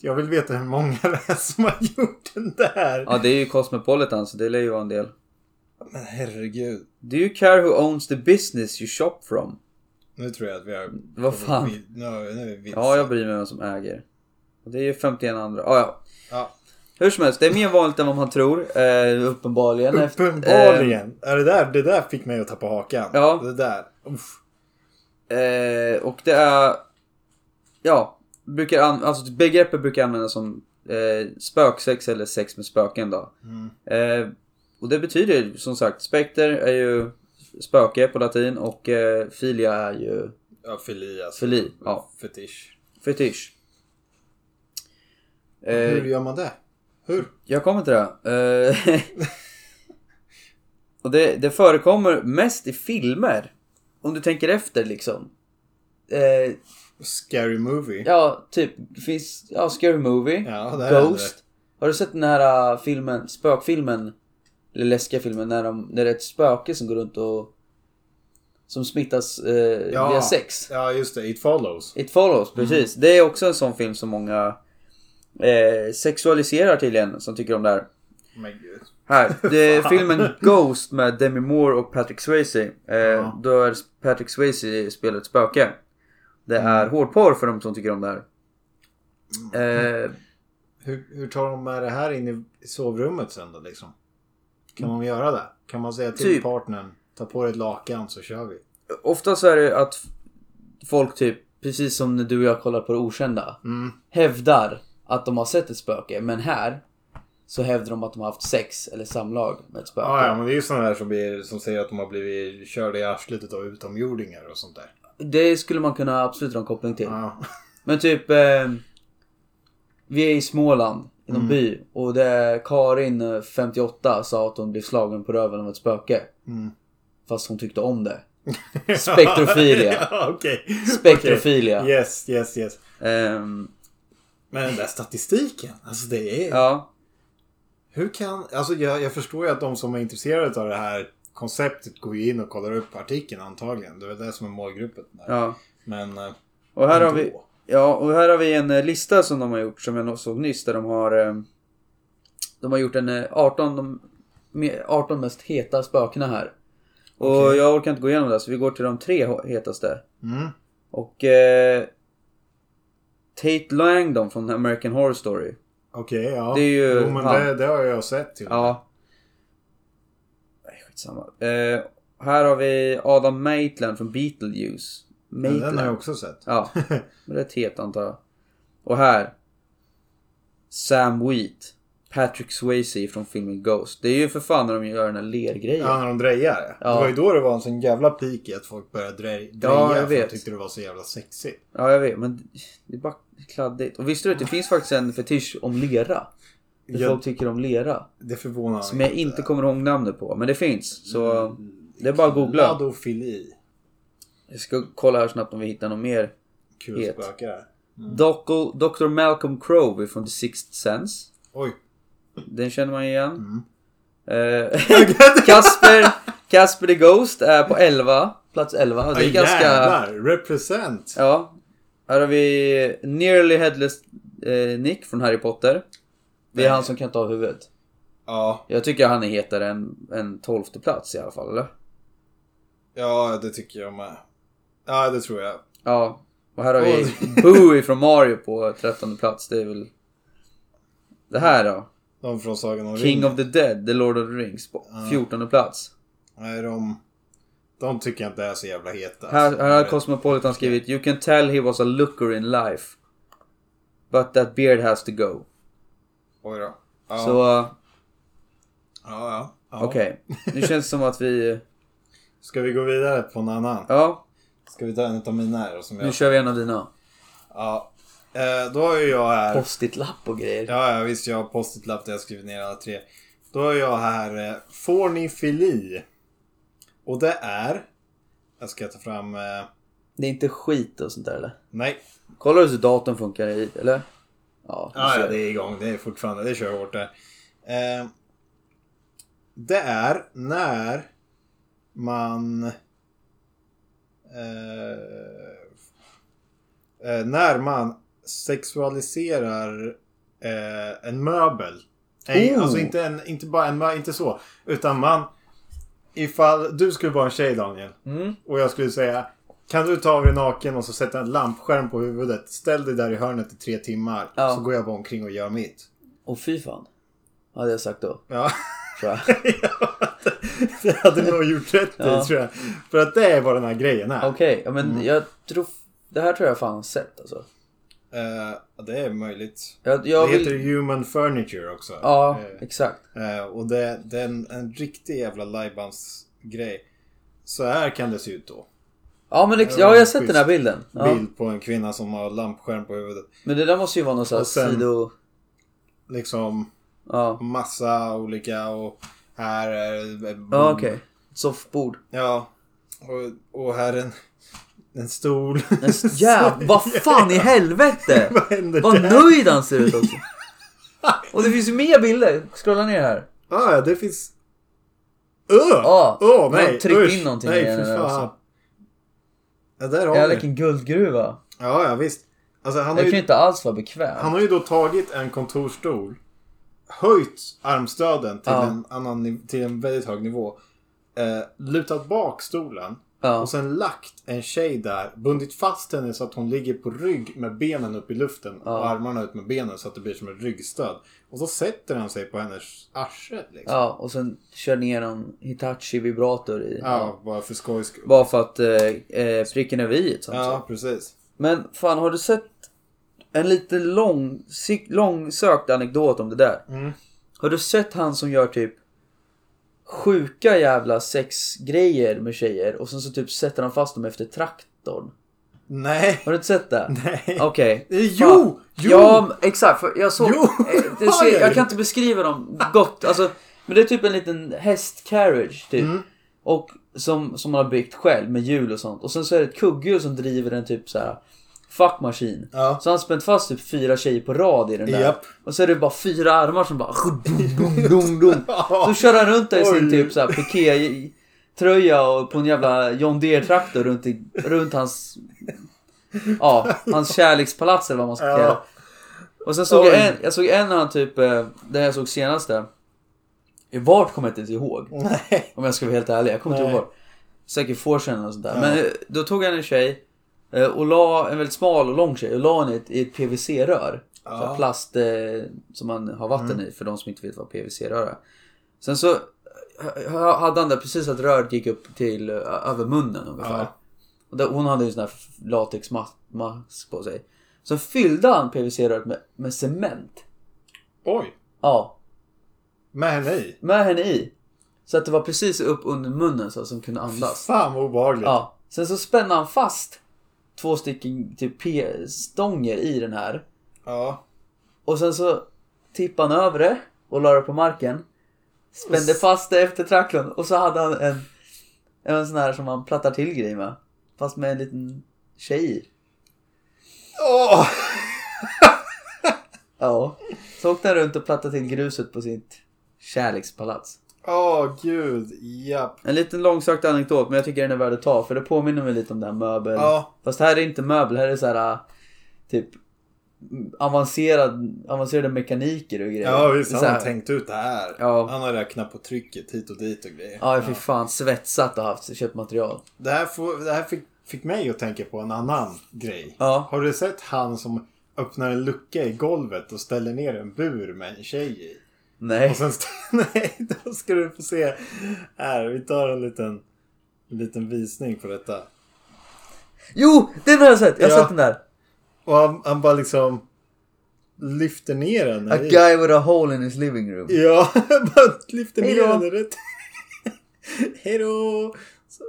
Speaker 1: Jag vill veta hur många det är som har gjort den där.
Speaker 2: Ja, det är ju Cosmopolitan, så det lär ju vara en del.
Speaker 1: Men herregud.
Speaker 2: Do you care who owns the business you shop from?
Speaker 1: Nu tror jag att vi har...
Speaker 2: Vad fan?
Speaker 1: Vi- Nu, nu är vi vilse.
Speaker 2: Ja, jag bryr mig om vem som äger. Och det är ju 51 andra. Ja, ja.
Speaker 1: Ja.
Speaker 2: Hur som helst, det är mer vanligt än vad man tror. Eh, uppenbarligen. Efter- eh,
Speaker 1: Uppenbarligen. Är det, där, det där fick mig att tappa hakan.
Speaker 2: Ja.
Speaker 1: Det där. Uff.
Speaker 2: Eh, och det är... Ja, brukar an- alltså begreppet brukar användas som eh, spöksex eller sex med spöken då. Eh, och det betyder som sagt, spekter är ju spöke på latin och eh, filia är ju
Speaker 1: Ja, fili alltså.
Speaker 2: Fili, ja.
Speaker 1: Fetisch.
Speaker 2: fetisch. Eh,
Speaker 1: Hur gör man det? Hur?
Speaker 2: jag kommer till det. Eh, och det, det förekommer mest i filmer. Om du tänker efter liksom. Eh,
Speaker 1: Scary movie.
Speaker 2: Ja, typ. Det finns, ja, Scary Movie,
Speaker 1: Ja, det är
Speaker 2: Ghost. Har du sett den här äh, filmen, spökfilmen? Eller läskiga filmen när, de, när det är ett spöke som går runt och... Som smittas eh,
Speaker 1: Ja. Mm.
Speaker 2: via sex.
Speaker 1: Ja, just det. It follows.
Speaker 2: It follows, precis. Det är också en sån film som många eh, sexualiserar tydligen, som tycker om det här.
Speaker 1: Men gud.
Speaker 2: Här, det är filmen Ghost med Demi Moore och Patrick Swayze. Eh,
Speaker 1: Ja.
Speaker 2: Då är Patrick Swayze spelar ett spöke. Det
Speaker 1: Mm.
Speaker 2: är hårdporr för de som tycker om det här. Eh,
Speaker 1: Hur, hur tar de med det här in i sovrummet sen då liksom? Kan man göra det? Kan man säga till
Speaker 2: Mm. Typ.
Speaker 1: partnern ta på dig ett lakan så kör vi?
Speaker 2: ofta så är det att folk typ, precis som när du och jag kollar på det okända,
Speaker 1: Mm.
Speaker 2: hävdar att de har sett ett spöke. Men här så hävdar de att de har haft sex eller samlag med ett spöke.
Speaker 1: Ja, ja, men det är ju sådana här som, blir, som säger att de har blivit körda i arslet av utomjordingar och sånt där.
Speaker 2: Det skulle man kunna absolut ha en koppling till.
Speaker 1: Ja.
Speaker 2: Men typ... Eh, vi är i Småland, i
Speaker 1: Mm.
Speaker 2: någon by. Och det är Karin, eh, 58, sa att hon blev slagen på röven av ett spöke.
Speaker 1: Mm.
Speaker 2: Fast hon tyckte om det. Spektrofilia.
Speaker 1: ja, okej.
Speaker 2: Spektrofilia.
Speaker 1: Okej. Yes, yes, yes.
Speaker 2: Ehm,
Speaker 1: Men den där statistiken, alltså det är...
Speaker 2: ja.
Speaker 1: Hur kan... Alltså jag, jag förstår ju att de som är intresserade av det här konceptet går ju in och kollar upp artikeln antagligen. Det är väl det som är målgruppen. Där.
Speaker 2: ja.
Speaker 1: Men... eh,
Speaker 2: Och här har
Speaker 1: ändå.
Speaker 2: vi... Ja, och här har vi en eh, lista som de har gjort som jag såg nyss där de har eh, De har gjort en eh, 18, de me- 18 mest heta spökena här. Och
Speaker 1: Okej.
Speaker 2: jag orkar inte gå igenom det så vi går till de tre ho- hetaste.
Speaker 1: Mm.
Speaker 2: Och eh, Tate Langdon från American Horror Story.
Speaker 1: Okej, ja.
Speaker 2: Det är ju-
Speaker 1: jo, men
Speaker 2: han.
Speaker 1: det, det har jag sett till.
Speaker 2: Ja. Nej, skitsamma. Eh, här har vi Adam Maitland från Beetlejuice.
Speaker 1: Men den har jag
Speaker 2: Maitland.
Speaker 1: också sett.
Speaker 2: Ja, men det är ett het antar jag. Och här. Sam Wheat. Patrick Swayze från filmen Ghost. Det är ju för fan när de gör den här lergrejen.
Speaker 1: Ja, när de drejar.
Speaker 2: Ja.
Speaker 1: Det var ju då det var en sån jävla peak i att folk började dre- dreja.
Speaker 2: jag
Speaker 1: för
Speaker 2: vet.
Speaker 1: De tyckte det var så jävla sexigt.
Speaker 2: Ja, jag vet. Men det är bara kladdigt. Och visste du att det finns faktiskt en fetisch om lera? Det
Speaker 1: Jag-
Speaker 2: folk tycker om lera.
Speaker 1: Det förvånar mig
Speaker 2: Som jag inte kommer ihåg namnet på. Men det finns. Så
Speaker 1: Mm.
Speaker 2: det är bara att googla.
Speaker 1: Ladofili.
Speaker 2: Jag ska kolla här snabbt om vi hittar något mer.
Speaker 1: Kul
Speaker 2: Het.
Speaker 1: spöke där.
Speaker 2: Doco- Dr. Malcolm Crowe från The Sixth Sense.
Speaker 1: Oj.
Speaker 2: Den känner man
Speaker 1: Mm.
Speaker 2: igen. Eh, Kasper, Kasper the Ghost är på 11. Plats 11. Det är
Speaker 1: Aj,
Speaker 2: ganska...
Speaker 1: Jävlar. Represent.
Speaker 2: Ja. Här har vi Nearly Headless eh, Nick från Harry Potter. Det är han som kan ta av huvudet.
Speaker 1: Ja.
Speaker 2: Jag tycker han är hetare än, än 12 plats i alla fall, eller?
Speaker 1: ja, det tycker jag med. Ja, det tror jag.
Speaker 2: Ja, och här har vi
Speaker 1: Oj.
Speaker 2: Boo från Mario på trettonde plats. Det är väl... Det här då?
Speaker 1: De från Sagan om
Speaker 2: King
Speaker 1: ringen.
Speaker 2: of the Dead, The Lord of the Rings på fjortonde plats.
Speaker 1: Nej, de... De tycker jag inte är så jävla heta.
Speaker 2: Här,
Speaker 1: alltså.
Speaker 2: här har Cosmopolitan skrivit You can tell he was a looker in life. But that beard has to go.
Speaker 1: Oj då. Ja,
Speaker 2: Så, uh,
Speaker 1: ja, ja. ja.
Speaker 2: okej. Nu känns det som att vi...
Speaker 1: Ska vi gå vidare på en annan?
Speaker 2: Ja,
Speaker 1: Ska vi ta en av mina här? Som
Speaker 2: nu
Speaker 1: jag...
Speaker 2: kör vi en av dina.
Speaker 1: ja. Eh, då har ju jag här...
Speaker 2: Post-it-lapp och grejer.
Speaker 1: Ja, ja, visst. Jag har postit lapp där jag skrivit ner alla tre. Då har jag här eh, fornifili. Och det är... Jag ska ta fram... Eh,
Speaker 2: Det är inte skit och sånt där eller?
Speaker 1: nej.
Speaker 2: Kollar du så datorn funkar i, eller? Ja, du
Speaker 1: Ja, ja,
Speaker 2: ser.
Speaker 1: det är igång. Det är fortfarande... Det kör hårt där. Eh, det är när man... Eh, eh, när man sexualiserar eh, en möbel. Nej,
Speaker 2: Oh!
Speaker 1: Alltså inte, en, inte bara en möbel, inte så. Utan man... Ifall du skulle vara en tjej Daniel. Och jag skulle säga Kan du ta av dig naken och så sätta en lampskärm på huvudet. Ställ dig där i hörnet i tre timmar.
Speaker 2: Ja.
Speaker 1: Så går jag bara omkring och gör mitt.
Speaker 2: Och fy fan. Hade jag sagt då.
Speaker 1: Ja.
Speaker 2: Tror jag.
Speaker 1: Ja, det- det hade nog gjort rätt
Speaker 2: Ja.
Speaker 1: i tror jag. För att det är vad den här grejen är.
Speaker 2: Okej, ja, men
Speaker 1: Mm.
Speaker 2: jag tror... Det här tror jag fan har sett alltså.
Speaker 1: Eh, det är möjligt.
Speaker 2: Jag, jag
Speaker 1: det
Speaker 2: vill...
Speaker 1: heter Human Furniture också.
Speaker 2: Ja,
Speaker 1: Eh,
Speaker 2: exakt.
Speaker 1: eh, och det, det är en, en riktig jävla lajbansgrej. Så här kan det se ut då.
Speaker 2: Ja, men ex-
Speaker 1: det var
Speaker 2: ja, jag har
Speaker 1: en
Speaker 2: sett
Speaker 1: schysst
Speaker 2: den här bilden. Ja.
Speaker 1: Bild på en kvinna som har lampskärm på huvudet.
Speaker 2: Men det där måste ju vara någon sån här
Speaker 1: Och sen-
Speaker 2: sido...
Speaker 1: Liksom
Speaker 2: Ja,
Speaker 1: massa olika och här är... är-
Speaker 2: ja okej. Ett soffbord.
Speaker 1: Ja. Och, och här en, en stol.
Speaker 2: En s- jäv... Vad fan i helvete!
Speaker 1: Vad händer
Speaker 2: Vad
Speaker 1: där?
Speaker 2: nöjd han ser ut också. Och det finns ju mer bilder. Scrolla ner här.
Speaker 1: Ah, Ja, ja, det finns... Öh!
Speaker 2: Ja,
Speaker 1: Åh,
Speaker 2: man
Speaker 1: nej!
Speaker 2: tryckte in
Speaker 1: usch,
Speaker 2: någonting
Speaker 1: Nej,
Speaker 2: i den
Speaker 1: fy
Speaker 2: där
Speaker 1: fan.
Speaker 2: också.
Speaker 1: Ja, där har
Speaker 2: Jävlar
Speaker 1: vi.
Speaker 2: vilken guldgruva.
Speaker 1: Ja, ja, visst. Alltså, han, har
Speaker 2: Jag kan
Speaker 1: ju,
Speaker 2: inte alls vara bekväm.
Speaker 1: han har ju då tagit en kontorsstol, höjt armstöden till,
Speaker 2: Ja.
Speaker 1: en, annan, niv- till en väldigt hög nivå, eh, lutat bak stolen
Speaker 2: Ja.
Speaker 1: och sen lagt en tjej där, bundit fast henne så att hon ligger på rygg med benen upp i luften och armarna ut med benen så att det blir som ett ryggstöd. Och så sätter han sig på hennes arsle liksom.
Speaker 2: Ja, och sen kör ner någon Hitachi vibrator i.
Speaker 1: Ja, bara för skojs skull.
Speaker 2: Bara för att eh, eh, pricken över i så att säga.
Speaker 1: Ja, precis.
Speaker 2: Men fan har du sett en lite lång, sik- långsökt anekdot om det där? Har du sett han som gör typ sjuka jävla sexgrejer med tjejer och sen så typ sätter han fast dem efter traktorn?
Speaker 1: Nej.
Speaker 2: Har du inte sett det?
Speaker 1: Nej.
Speaker 2: Okej.
Speaker 1: Eh, jo,
Speaker 2: Fan.
Speaker 1: jo.
Speaker 2: Ja, men exakt. För jag såg...
Speaker 1: Jo,
Speaker 2: eh, det
Speaker 1: fan
Speaker 2: ser,
Speaker 1: gör
Speaker 2: jag
Speaker 1: du?
Speaker 2: kan inte beskriva dem gott. Alltså, men det är typ en liten hästcarriage typ.
Speaker 1: Mm.
Speaker 2: Och som, som man har byggt själv med hjul och sånt. Och sen så är det ett kugghjul som driver en typ så här fuckmaskin.
Speaker 1: Ja.
Speaker 2: Så han har spänt fast typ fyra tjejer på rad i den där.
Speaker 1: Japp.
Speaker 2: Och så är det bara fyra armar som bara... Dum, dum, dum. Så kör han runt där i sin
Speaker 1: Oj.
Speaker 2: typ så här piké tröja och på en jävla John Deere traktor runt, i, runt hans ja, hans kärlekspalats eller vad man ska kalla det.
Speaker 1: Ja.
Speaker 2: Och sen såg jag
Speaker 1: Oj.
Speaker 2: en, jag såg en när han typ, eh, den jag såg senaste. Vart kommer jag inte ihåg.
Speaker 1: Nej.
Speaker 2: Om jag ska vara helt ärlig, jag kommer inte
Speaker 1: Nej.
Speaker 2: ihåg. Säkert får sen och sånt där.
Speaker 1: Ja.
Speaker 2: Men eh, då tog han en tjej eh, och la, en väldigt smal och lång tjej, och la henne i ett, i ett PVC-rör. Så här
Speaker 1: Ja. Mm.
Speaker 2: Plast eh, som man har vatten i, för de som inte vet vad PVC-rör är. Sen så eh, ha- hade han där precis att röret gick upp till eh, över munnen ungefär.
Speaker 1: Ja.
Speaker 2: Och där, hon hade ju en sån här f- latexmask på sig. Så fyllde han PVC-röret med, med cement.
Speaker 1: Oj.
Speaker 2: Ja,
Speaker 1: Med henne i.
Speaker 2: med henne i. Så att det var precis upp under munnen så att hon kunde andas.
Speaker 1: Fan vad obehagligt.
Speaker 2: Ja. Sen så spände han fast två stycken typ p-stånger i den här.
Speaker 1: Ja.
Speaker 2: Och sen så tippade han över det och la det på marken. Spände fast det efter tacklern och så hade han en, en sån här som man plattar till grej med. Fast med en liten tjej i.
Speaker 1: Åh!
Speaker 2: Ja. Så åkte han runt och plattade till gruset på sitt kärlekspalats.
Speaker 1: Åh gud, japp.
Speaker 2: En liten långsökt anekdot, men jag tycker den är värd att ta för det påminner mig lite om det här möbel.
Speaker 1: Ja.
Speaker 2: Fast här är inte möbel, här är så här äh, typ avancerad, avancerade mekaniker och grejer.
Speaker 1: Ja visst,
Speaker 2: Det är
Speaker 1: han
Speaker 2: så
Speaker 1: har
Speaker 2: här-
Speaker 1: tänkt ut det här.
Speaker 2: Ja.
Speaker 1: Han har räknat på trycket hit och dit och grejer.
Speaker 2: Ja, fy fan. Svetsat och haft, köpt material.
Speaker 1: Det här, får, det här fick, fick mig att tänka på en annan grej.
Speaker 2: Ja.
Speaker 1: Har du sett han som öppnar en lucka i golvet och ställer ner en bur med en tjej i?
Speaker 2: Nej.
Speaker 1: Och sen st- Nej, då ska du få se. Här, vi tar en liten, en liten visning på detta.
Speaker 2: Jo! Den har jag sett! Jag har
Speaker 1: Ja.
Speaker 2: sett den där.
Speaker 1: Och han, han bara liksom lyfter ner henne.
Speaker 2: A
Speaker 1: i-
Speaker 2: guy with a hole in his living room.
Speaker 1: Ja, bara lyfter ner
Speaker 2: Hejdå.
Speaker 1: henne rätt. Hejdå!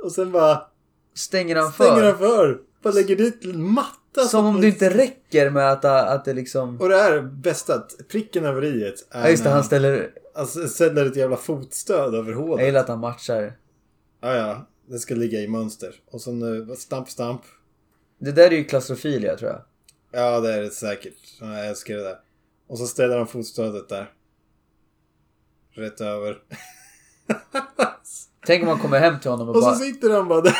Speaker 1: Och sen bara
Speaker 2: Stänger han
Speaker 1: stänger
Speaker 2: för.
Speaker 1: han för. Bara lägger dit en matta.
Speaker 2: Som om det inte räcker med att, att det liksom...
Speaker 1: Och det här bästa, att pricken över iet är
Speaker 2: Ja just det,
Speaker 1: när
Speaker 2: han ställer...
Speaker 1: alltså, sätter ett jävla fotstöd över
Speaker 2: Jag
Speaker 1: hålet.
Speaker 2: gillar att han matchar.
Speaker 1: Ja, ja. Det ska ligga i mönster. Och sen eh, stamp, stamp.
Speaker 2: Det där är ju klaustrofilia tror jag.
Speaker 1: Ja, det är det säkert. Ja, Jag älskar det där. Och så ställer han fotstödet där. Rätt över.
Speaker 2: Tänk om man kommer hem till honom och,
Speaker 1: Och
Speaker 2: bara...
Speaker 1: så sitter han bara där.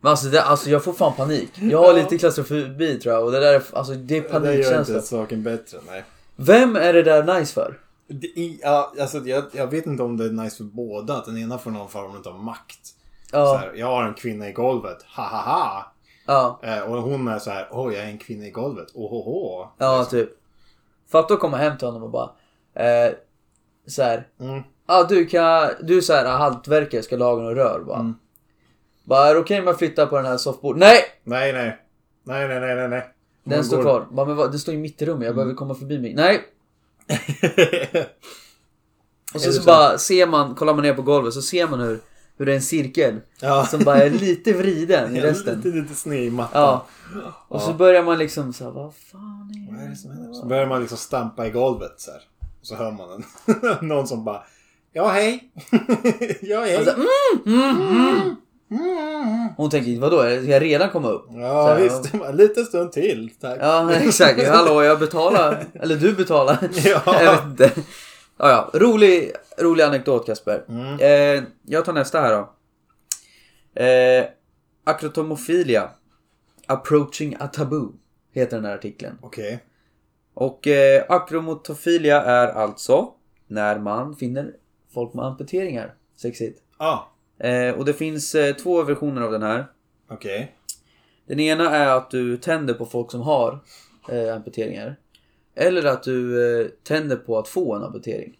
Speaker 2: Men alltså, det, alltså jag får fan panik. Jag har
Speaker 1: Ja.
Speaker 2: lite klaustrofobi tror jag och det där är, alltså, det är
Speaker 1: Det gör inte
Speaker 2: panikkänsla.
Speaker 1: saken bättre, nej.
Speaker 2: Vem är det där nice för?
Speaker 1: Det, i, ja, alltså, jag, jag vet inte om det är nice för båda. Att den ena får någon form av makt. Så
Speaker 2: Ja,
Speaker 1: här, jag har en kvinna i golvet. Ha ha ha.
Speaker 2: ja,
Speaker 1: Eh, och hon är så här. Åh, jag är en kvinna i golvet. Oh, Ohoho.
Speaker 2: ja typ. Fatta att komma hem till honom och bara... Eh, så här.
Speaker 1: Mm.
Speaker 2: Ah, du kan jag- Du är så här ah, hantverkare, ska laga några rör bara.
Speaker 1: Mm.
Speaker 2: Bara, är det okej om jag flyttar på den här soffbordet? Nej!
Speaker 1: Nej, nej. Nej, nej, nej, nej, nej. Hon
Speaker 2: Den står
Speaker 1: går- Mm.
Speaker 2: kvar. Bara, men vad, den står i mitt i rummet, jag behöver komma förbi mig. Nej! Och så,
Speaker 1: Eller
Speaker 2: så
Speaker 1: så-
Speaker 2: bara ser man, kollar man ner på golvet så ser man hur, hur det är en cirkel.
Speaker 1: ja.
Speaker 2: Som bara är lite vriden i resten.
Speaker 1: Lite, lite sned i mattan.
Speaker 2: Ja. Och så börjar man liksom så här, vad fan
Speaker 1: Vad
Speaker 2: är
Speaker 1: är
Speaker 2: det?
Speaker 1: det som händer? Så börjar man liksom stampa i golvet så här. Och så hör man en. någon som bara. Ja, hej. ja, hej.
Speaker 2: Alltså, mm, Hon tänker, vadå, ska jag redan komma upp?
Speaker 1: ja,
Speaker 2: så här,
Speaker 1: visst. Lite stund till. Tack.
Speaker 2: Ja, exakt. Hallå, jag betalar. Eller du betalar.
Speaker 1: Ja.
Speaker 2: Jag vet inte. Ja, ja. Rolig, rolig anekdot Kasper.
Speaker 1: Mm.
Speaker 2: Eh, jag tar nästa här då. Eh, Acrotomofilia. Approaching a taboo. Heter den här artikeln.
Speaker 1: Okej.
Speaker 2: Och eh, akromotofilia är alltså när man finner folk med amputeringar. Sexigt.
Speaker 1: Ja.
Speaker 2: Eh, och det finns eh, två versioner av den här.
Speaker 1: Okej.
Speaker 2: Den ena är att du tänder på folk som har eh, amputeringar. Eller att du eh, tänder på att få en amputering.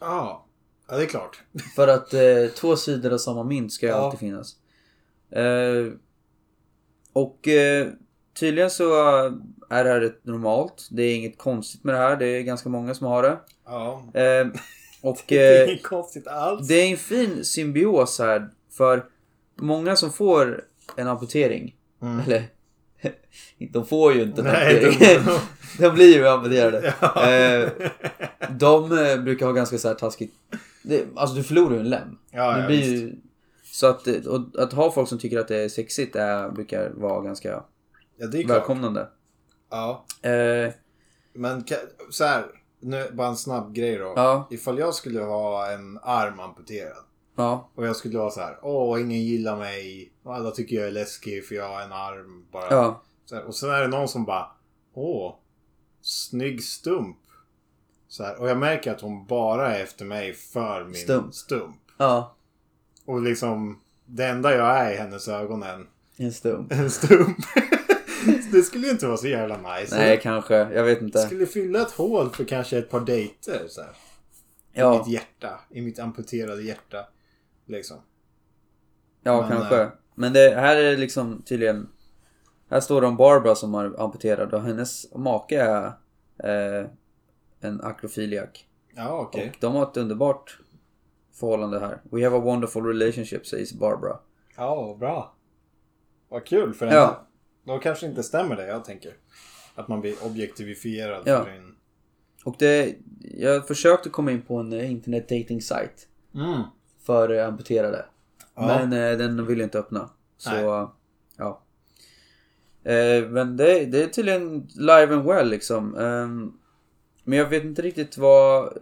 Speaker 1: Ja. Ja, det är klart.
Speaker 2: För att eh, två sidor av samma mynt ska ju
Speaker 1: Ja.
Speaker 2: alltid finnas. Eh, och eh, tydligen så eh, är det här rätt normalt. Det är inget konstigt med det här. Det är ganska många som har det.
Speaker 1: Ja.
Speaker 2: Eh, och
Speaker 1: Det är
Speaker 2: eh,
Speaker 1: inget konstigt alls.
Speaker 2: det är en fin symbios här. För många som får en amputering.
Speaker 1: Mm.
Speaker 2: Eller de får ju inte en
Speaker 1: Nej,
Speaker 2: amputering.
Speaker 1: de-
Speaker 2: De blir ju amputerade.
Speaker 1: Ja.
Speaker 2: Eh, de eh, brukar ha ganska så här taskigt... Det, alltså du förlorar ju en lem.
Speaker 1: Ja,
Speaker 2: det
Speaker 1: ja,
Speaker 2: blir ju, så att, eh, och, att ha folk som tycker att det är sexigt är, brukar vara ganska
Speaker 1: Ja, det är klart.
Speaker 2: välkomnande.
Speaker 1: Ja.
Speaker 2: Eh,
Speaker 1: Men ka- så här, nu bara en snabb grej då.
Speaker 2: Ja.
Speaker 1: Ifall jag skulle ha en arm amputerad.
Speaker 2: Ja.
Speaker 1: Och jag skulle vara så här. Åh, ingen gillar mig. Och alla tycker jag är läskig för jag har en arm bara.
Speaker 2: Ja.
Speaker 1: Så här, och sen är det någon som bara Åh, snygg stump. Så här, och jag märker att hon bara är efter mig för min
Speaker 2: Stump.
Speaker 1: stump.
Speaker 2: Ja.
Speaker 1: Och liksom det enda jag är i hennes ögon är en,
Speaker 2: En stump.
Speaker 1: en stump. Så det skulle ju inte vara så jävla nice.
Speaker 2: Nej, kanske. Jag vet
Speaker 1: det
Speaker 2: inte.
Speaker 1: skulle fylla ett hål för kanske ett par dejter. Så här, I
Speaker 2: Ja,
Speaker 1: mitt hjärta. I mitt amputerade hjärta. Liksom.
Speaker 2: ja
Speaker 1: men,
Speaker 2: kanske.
Speaker 1: eh,
Speaker 2: Men det här är liksom tydligen... Här står det om Barbara som är amputerad och hennes make är eh, en akrofiliak.
Speaker 1: Ja, okej.
Speaker 2: Och de har ett underbart förhållande här. We have a wonderful relationship, sägs Barbara.
Speaker 1: Ja, bra. Vad kul för henne.
Speaker 2: Ja.
Speaker 1: Då kanske inte stämmer det jag tänker. Att man blir objektivifierad.
Speaker 2: Ja.
Speaker 1: För en...
Speaker 2: Och det... Jag försökte komma in på en eh, internet dating site
Speaker 1: mm.
Speaker 2: för eh, amputerade.
Speaker 1: Ja.
Speaker 2: Men eh, den vill jag inte öppna. Så,
Speaker 1: Nej.
Speaker 2: ja. Eh, men det, det är tydligen live and well liksom. Ehm, men jag vet inte riktigt vad...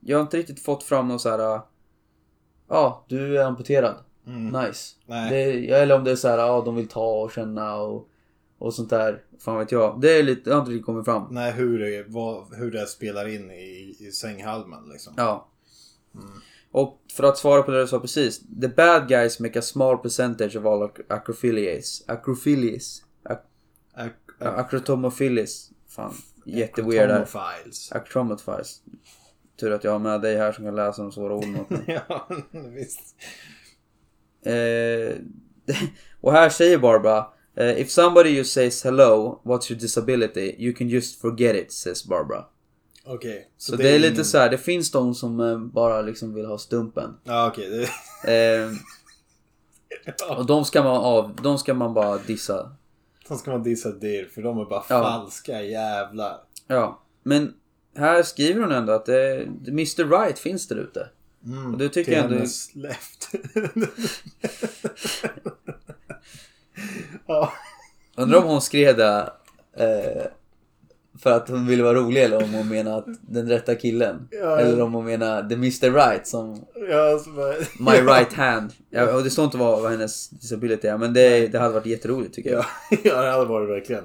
Speaker 2: Jag har inte riktigt fått fram någon så här... Ja, ah, du är amputerad.
Speaker 1: Mm.
Speaker 2: Nice.
Speaker 1: Nej.
Speaker 2: Det, eller om det är så här, ja, ah, de vill ta och känna och, och sånt där. Fan vet jag. Det är lite, det har inte riktigt kommit fram.
Speaker 1: Nej, hur det, vad, hur det spelar in i, i sänghalmen liksom.
Speaker 2: Ja. Och för att svara på det du sa precis. The bad guys make a small percentage of all ac- acrophiliates. Acrophiliates. Ac-
Speaker 1: Ak-
Speaker 2: ja, Acrotomophilies. Fan, jätteweird där.
Speaker 1: Atomofiles.
Speaker 2: Acrotomophiles. Tur att jag har med dig här som kan läsa de svåra orden åt mig.
Speaker 1: ja, visst.
Speaker 2: Eh, och här säger Barbara. eh, if somebody you says hello, what's your disability? You can just forget it, says Barbara.
Speaker 1: Okej.
Speaker 2: Så det är lite
Speaker 1: ingen-
Speaker 2: så här, det finns de som eh, bara liksom vill ha stumpen.
Speaker 1: Ja, okej. det-
Speaker 2: Eh,
Speaker 1: Ja,
Speaker 2: och de ska man av, de ska man bara dissa.
Speaker 1: Sen ska man dissa dir för de är bara
Speaker 2: Ja.
Speaker 1: falska jävlar.
Speaker 2: Ja, men här skriver hon ändå att det, Mr Right finns där ute.
Speaker 1: Mm,
Speaker 2: Och det tycker
Speaker 1: till
Speaker 2: jag ändå-
Speaker 1: hennes left. ja.
Speaker 2: Undrar om hon skrev det eh, för att hon ville vara rolig eller om hon menar att den rätta killen.
Speaker 1: Ja.
Speaker 2: Eller om hon menar the Mr Right som
Speaker 1: Ja, så bara...
Speaker 2: My right hand. Ja, och det står inte vad, vad hennes disability är, men det, det hade varit jätteroligt tycker jag.
Speaker 1: Ja, ja, det hade varit verkligen.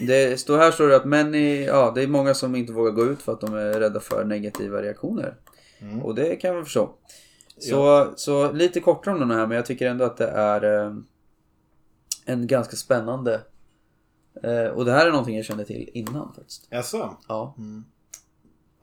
Speaker 2: Det står här står det att män i, ja, det är många som inte vågar gå ut för att de är rädda för negativa reaktioner.
Speaker 1: Mm.
Speaker 2: Och det kan jag förstå. Så, så lite kortare om den här, men jag tycker ändå att det är eh, en ganska spännande. Eh, och det här är någonting jag kände till innan faktiskt.
Speaker 1: Jaså? Mm.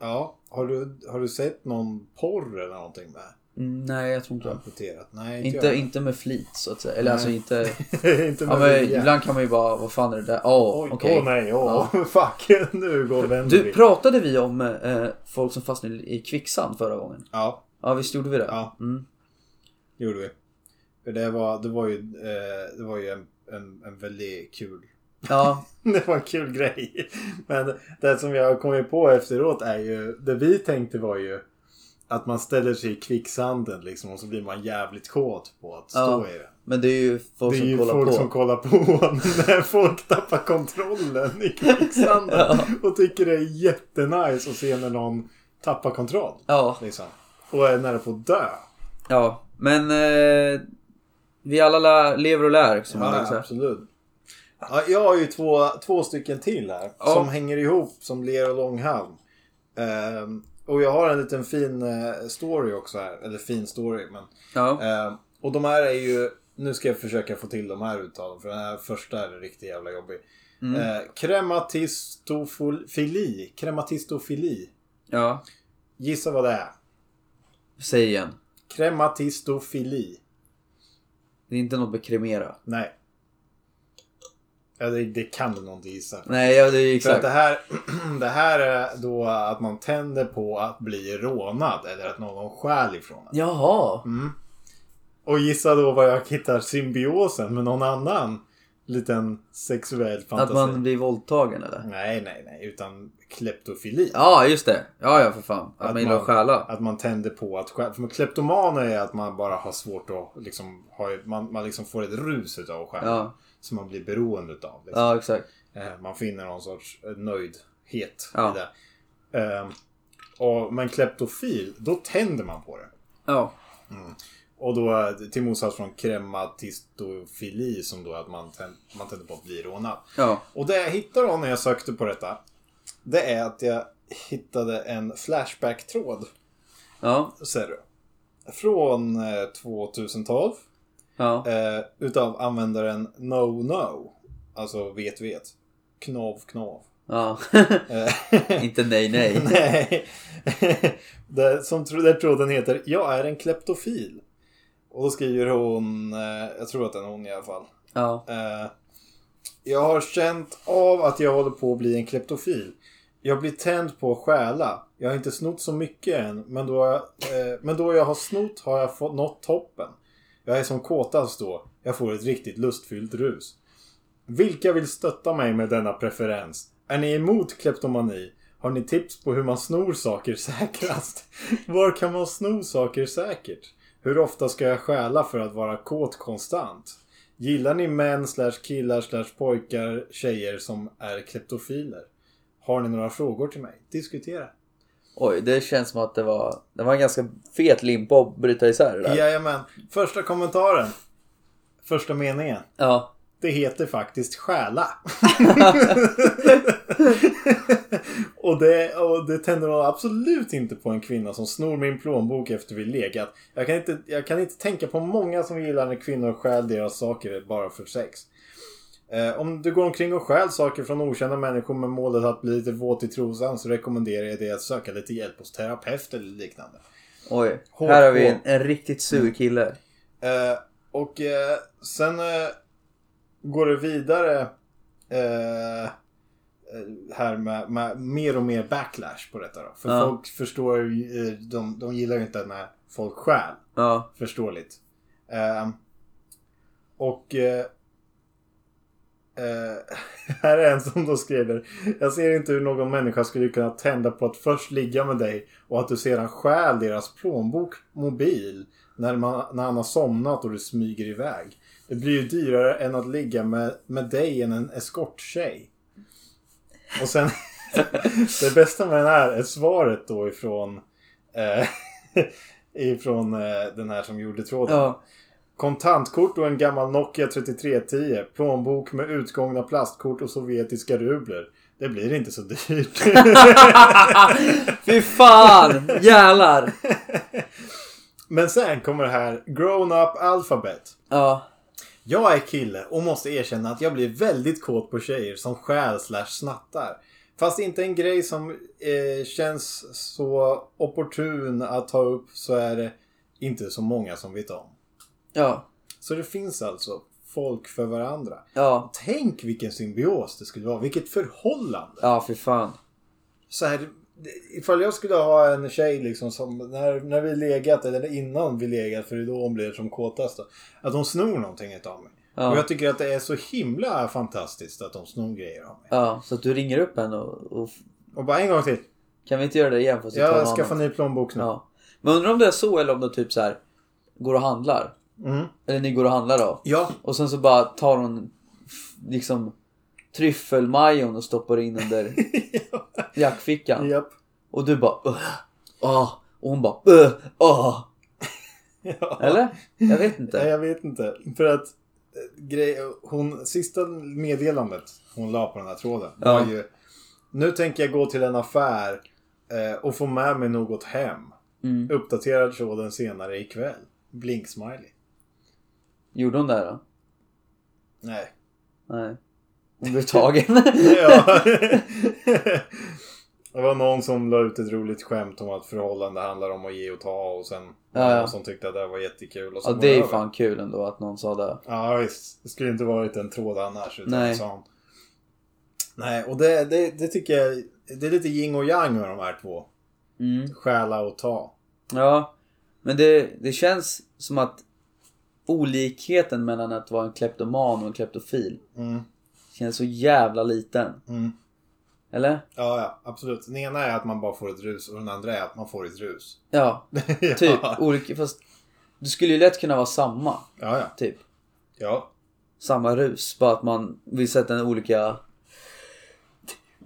Speaker 2: Ja.
Speaker 1: Ja. Har du, har du sett någon porr eller någonting med?
Speaker 2: Mm, nej, jag tror inte det.
Speaker 1: Amputerat? Nej, inte
Speaker 2: Inte, inte med flit så att säga. Eller alltså
Speaker 1: Nej.
Speaker 2: inte...
Speaker 1: jag. inte med
Speaker 2: Ja, men
Speaker 1: vilja.
Speaker 2: ibland kan man ju bara, vad fan är det där? Åh,
Speaker 1: Oj,
Speaker 2: okej.
Speaker 1: åh nej, åh. Fuck, nu går vänder
Speaker 2: Du,
Speaker 1: vi.
Speaker 2: pratade vi om eh, folk som fastnade i kvicksand förra gången?
Speaker 1: Ja,
Speaker 2: Ja, visst gjorde vi det?
Speaker 1: Ja.
Speaker 2: Mm.
Speaker 1: det gjorde vi. För det var, det var ju, eh, det var ju en, en, en väldigt kul
Speaker 2: ja.
Speaker 1: Det var en kul grej. Men det som jag har kommit på efteråt är ju, det vi tänkte var ju att man ställer sig i kvicksanden liksom och så blir man jävligt kåt på att stå
Speaker 2: Ja,
Speaker 1: i den.
Speaker 2: Men det är ju folk
Speaker 1: Det är
Speaker 2: som
Speaker 1: ju
Speaker 2: kollar
Speaker 1: folk
Speaker 2: på.
Speaker 1: som kollar på när folk tappar kontrollen i kvicksanden
Speaker 2: Ja.
Speaker 1: och tycker det är jättenice att se när någon tappar kontroll.
Speaker 2: Ja,
Speaker 1: Liksom. Och är nära på att dö.
Speaker 2: ja. Men eh, vi alla lär, lever och lär. Som man
Speaker 1: Ja,
Speaker 2: säger.
Speaker 1: absolut. Ja, jag har ju två, två stycken till här
Speaker 2: Ja.
Speaker 1: som hänger ihop som ler och långhalm. Ehm, och jag har en liten fin eh, story också här. Eller fin story, men.
Speaker 2: Ja.
Speaker 1: ehm, och de här är ju... Nu ska jag försöka få till de här uttalen för den här första är riktigt jävla jobbig.
Speaker 2: Mm.
Speaker 1: Eh, krematistofili. Krematistofili.
Speaker 2: ja.
Speaker 1: Gissa vad det är.
Speaker 2: Säg igen.
Speaker 1: Krematistofili.
Speaker 2: Det är inte något med kremera.
Speaker 1: Nej. Ja, det, det kan du nog inte gissa.
Speaker 2: Nej, ja, det är
Speaker 1: För att
Speaker 2: exakt.
Speaker 1: det här, det här är då att man tänder på att bli rånad eller att någon stjäl ifrån en.
Speaker 2: Jaha.
Speaker 1: Mm, Och gissa då var jag hittar symbiosen med någon annan liten sexuell
Speaker 2: Att
Speaker 1: fantasi.
Speaker 2: man blir våldtagen eller?
Speaker 1: Nej, nej, nej. Utan kleptofili.
Speaker 2: Ja, just det. Ja, ja för fan. Att,
Speaker 1: Att
Speaker 2: man gillar att
Speaker 1: man-
Speaker 2: stjäla.
Speaker 1: Att man tänder på att stjäla. För kleptomaner är att man bara har svårt att liksom... Ha, man, man liksom får ett rus utav att stjäla.
Speaker 2: Ja.
Speaker 1: Som man blir beroende utav. Liksom.
Speaker 2: Ja, exakt.
Speaker 1: Eh, Man finner någon sorts eh, nöjdhet
Speaker 2: Ja.
Speaker 1: i det. Ehm, Och, men kleptofil, då tänder man på det.
Speaker 2: Ja.
Speaker 1: Och då eh, till motsats från krematistofili som då är att man, tän- man tänder på att bli rånad.
Speaker 2: Ja.
Speaker 1: Och det jag hittade då när jag sökte på detta. Det är att jag hittade en Flashback-tråd.
Speaker 2: Ja.
Speaker 1: Ser du. Från eh, 2012.
Speaker 2: Ja.
Speaker 1: Eh, utav användaren No No. Alltså vet vet. Knav knav.
Speaker 2: ja.
Speaker 1: Eh,
Speaker 2: Inte nej, nej.
Speaker 1: Nej. det, som tro, där tråden heter Jag är en kleptofil. Och då skriver hon, eh, jag tror att det är hon i alla fall.
Speaker 2: Ja.
Speaker 1: Eh, jag har känt av att jag håller på att bli en kleptofil. Jag blir tänd på att stjäla. Jag har inte snott så mycket än, men då, jag, eh, men då jag har snott har jag fått nått toppen. Jag är som kåtast då. Jag får ett riktigt lustfyllt rus. Vilka vill stötta mig med denna preferens? Är ni emot kleptomani? Har ni tips på hur man snor saker säkrast? Var kan man sno saker säkert? Hur ofta ska jag stjäla för att vara kåt konstant? Gillar ni män slash killar slash pojkar, tjejer som är kleptofiler? Har ni några frågor till mig? Diskutera.
Speaker 2: Oj, det känns som att det var, det var en ganska fet limpa att bryta isär det där.
Speaker 1: Jajamän. Första kommentaren. Första meningen.
Speaker 2: Ja.
Speaker 1: Det heter faktiskt stjäla. och, det, och det tänder man absolut inte på en kvinna som snor min plånbok efter vi legat. Jag kan inte, jag kan inte tänka på många som gillar när kvinnor stjäl deras saker bara för sex. Eh, om du går omkring och stjäl saker från okända människor med målet att bli lite våt i trosan så rekommenderar jag dig att söka lite hjälp hos terapeut eller liknande.
Speaker 2: Oj.
Speaker 1: Hårt
Speaker 2: Här har vi
Speaker 1: på. Mm.
Speaker 2: en, en riktigt sur kille.
Speaker 1: Eh, och eh, sen eh, går det vidare eh, eh, här med, med mer och mer backlash på detta då. För
Speaker 2: Ja.
Speaker 1: folk förstår ju, eh, de, de gillar ju inte när folk stjäl.
Speaker 2: Ja.
Speaker 1: Förståeligt. Eh, och eh, eh, här är en som då skriver. Jag ser inte hur någon människa skulle kunna tända på att först ligga med dig och att du sedan stjäl deras plånbok, mobil, när, man, när han har somnat och du smyger iväg. Det blir ju dyrare än att ligga med, med dig än en eskorttjej. Och sen, det bästa med den här är svaret då ifrån, eh, ifrån eh, den här som gjorde tråden.
Speaker 2: Ja.
Speaker 1: Kontantkort och en gammal Nokia 3310. Plånbok med utgångna plastkort och sovjetiska rubler. Det blir inte så dyrt.
Speaker 2: Fy fan! Jävlar!
Speaker 1: Men sen kommer det här Grown Up Alphabet.
Speaker 2: Ja.
Speaker 1: Jag är kille och måste erkänna att jag blir väldigt kåt på tjejer som stjäl slash snattar. Fast inte en grej som eh, känns så opportun att ta upp så är det inte så många som vet om.
Speaker 2: Ja.
Speaker 1: Så det finns alltså folk för varandra.
Speaker 2: Ja.
Speaker 1: Tänk vilken symbios det skulle vara. Vilket förhållande.
Speaker 2: Ja, fy fan.
Speaker 1: så här, ifall jag skulle ha en tjej liksom som när, när vi legat eller innan vi legat för det är då hon blir som kåtast då, Att hon snor någonting utav mig. Och
Speaker 2: Ja.
Speaker 1: jag tycker att det är så himla fantastiskt att de snor grejer av mig.
Speaker 2: Ja, så att du ringer upp henne och, och
Speaker 1: Och bara en gång till.
Speaker 2: kan vi inte göra det igen? Fast vi tar
Speaker 1: Jag
Speaker 2: någon
Speaker 1: skaffar
Speaker 2: annan?
Speaker 1: ny plånbok nu.
Speaker 2: Ja. Men undrar om det är så eller om det typ så här går och handlar.
Speaker 1: Mm.
Speaker 2: Eller ni går och handlar då.
Speaker 1: Ja,
Speaker 2: Och sen så bara tar hon f- liksom tryffelmajon och stoppar in under jackfickan.
Speaker 1: japp.
Speaker 2: Och du bara "Ugh, ah. Och hon bara "Ugh, ah.
Speaker 1: Ja.
Speaker 2: Eller? Jag vet
Speaker 1: Nej,
Speaker 2: inte.
Speaker 1: jag vet inte. För att eh, grej, hon, sista meddelandet hon la på den här tråden
Speaker 2: Ja.
Speaker 1: var ju Nu tänker jag gå till en affär eh, och få med mig något hem.
Speaker 2: Mm.
Speaker 1: Uppdaterad tråden senare ikväll. Blink-smiley.
Speaker 2: Gjorde hon det här då?
Speaker 1: Nej.
Speaker 2: Nej. Hon blev tagen.
Speaker 1: Ja. det var någon som la ut ett roligt skämt om att förhållande handlar om att ge och ta och sen
Speaker 2: Ja, ja.
Speaker 1: någon som tyckte att det här var jättekul. Och så
Speaker 2: ja
Speaker 1: var
Speaker 2: det är ju
Speaker 1: över.
Speaker 2: fan kul ändå att någon sa det.
Speaker 1: Ja visst. Det skulle inte varit en tråd annars. Utan
Speaker 2: Nej.
Speaker 1: Nej. Sån. Nej, och det, det, det tycker jag. Det är lite yin och yang med de här två.
Speaker 2: Mm.
Speaker 1: Stjäla och ta.
Speaker 2: Ja, men det, det känns som att olikheten mellan att vara en kleptoman och en kleptofil
Speaker 1: Mm,
Speaker 2: känns så jävla liten.
Speaker 1: mm.
Speaker 2: Eller?
Speaker 1: Ja, ja, absolut. Den ena är att man bara får ett rus och den andra är att man får ett rus.
Speaker 2: Ja,
Speaker 1: ja.
Speaker 2: typ. Olika, fast du skulle ju lätt kunna vara samma,
Speaker 1: Ja, ja.
Speaker 2: typ.
Speaker 1: Ja.
Speaker 2: Samma rus, bara att man vill sätta en olika...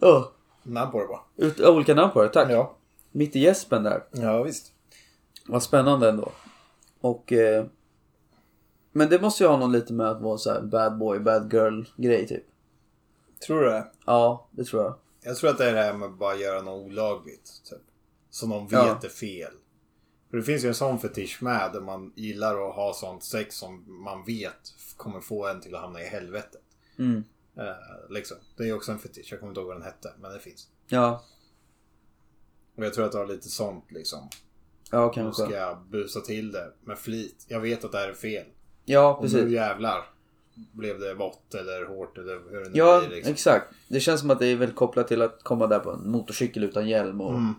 Speaker 2: Ja,
Speaker 1: Namn på det bara.
Speaker 2: ut, olika namn på det, tack.
Speaker 1: Ja.
Speaker 2: Mitt i gäspen där.
Speaker 1: Ja, visst.
Speaker 2: Vad spännande ändå. Och... Eh, men det måste ju ha någon lite med att vara så här bad boy, bad girl grej typ.
Speaker 1: Tror du det?
Speaker 2: Ja, det tror jag.
Speaker 1: Jag tror att det är det här med att bara göra något olagligt. Typ. Som de vet
Speaker 2: Ja.
Speaker 1: är fel. För det finns ju en sån fetisch med där man gillar att ha sånt sex som man vet kommer få en till att hamna i helvetet.
Speaker 2: Mm.
Speaker 1: Eh, liksom. Det är också en fetisch. Jag kommer inte ihåg vad den hette, men det finns.
Speaker 2: Ja,
Speaker 1: Och jag tror att det har lite sånt liksom.
Speaker 2: ja
Speaker 1: Nu ska
Speaker 2: kanske.
Speaker 1: jag busa till det med flit. Jag vet att det här är fel.
Speaker 2: Ja,
Speaker 1: Och nu
Speaker 2: precis.
Speaker 1: jävlar. Blev det vått eller hårt eller hur det nu
Speaker 2: Ja,
Speaker 1: blir liksom.
Speaker 2: exakt. Det känns som att det är väl kopplat till att komma där på en motorcykel utan hjälm och...
Speaker 1: Mm.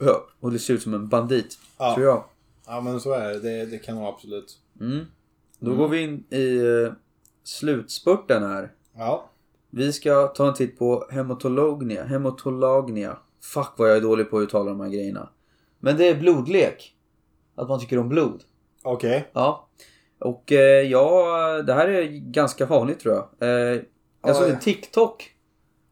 Speaker 2: Ja, och det ser ut som en bandit.
Speaker 1: Ja.
Speaker 2: Tror jag.
Speaker 1: Ja men så är det. Det, det kan nog absolut.
Speaker 2: Mm. Då går vi in i eh, slutspurten här.
Speaker 1: Ja.
Speaker 2: Vi ska ta en titt på hematolognia. Hematolagnia. Fuck vad jag är dålig på att uttala de här grejerna. Men det är blodlek. Att man tycker om blod.
Speaker 1: Okej.
Speaker 2: Ja. Och eh, ja, det här är ganska vanligt tror jag. Eh, jag såg
Speaker 1: Ja,
Speaker 2: en TikTok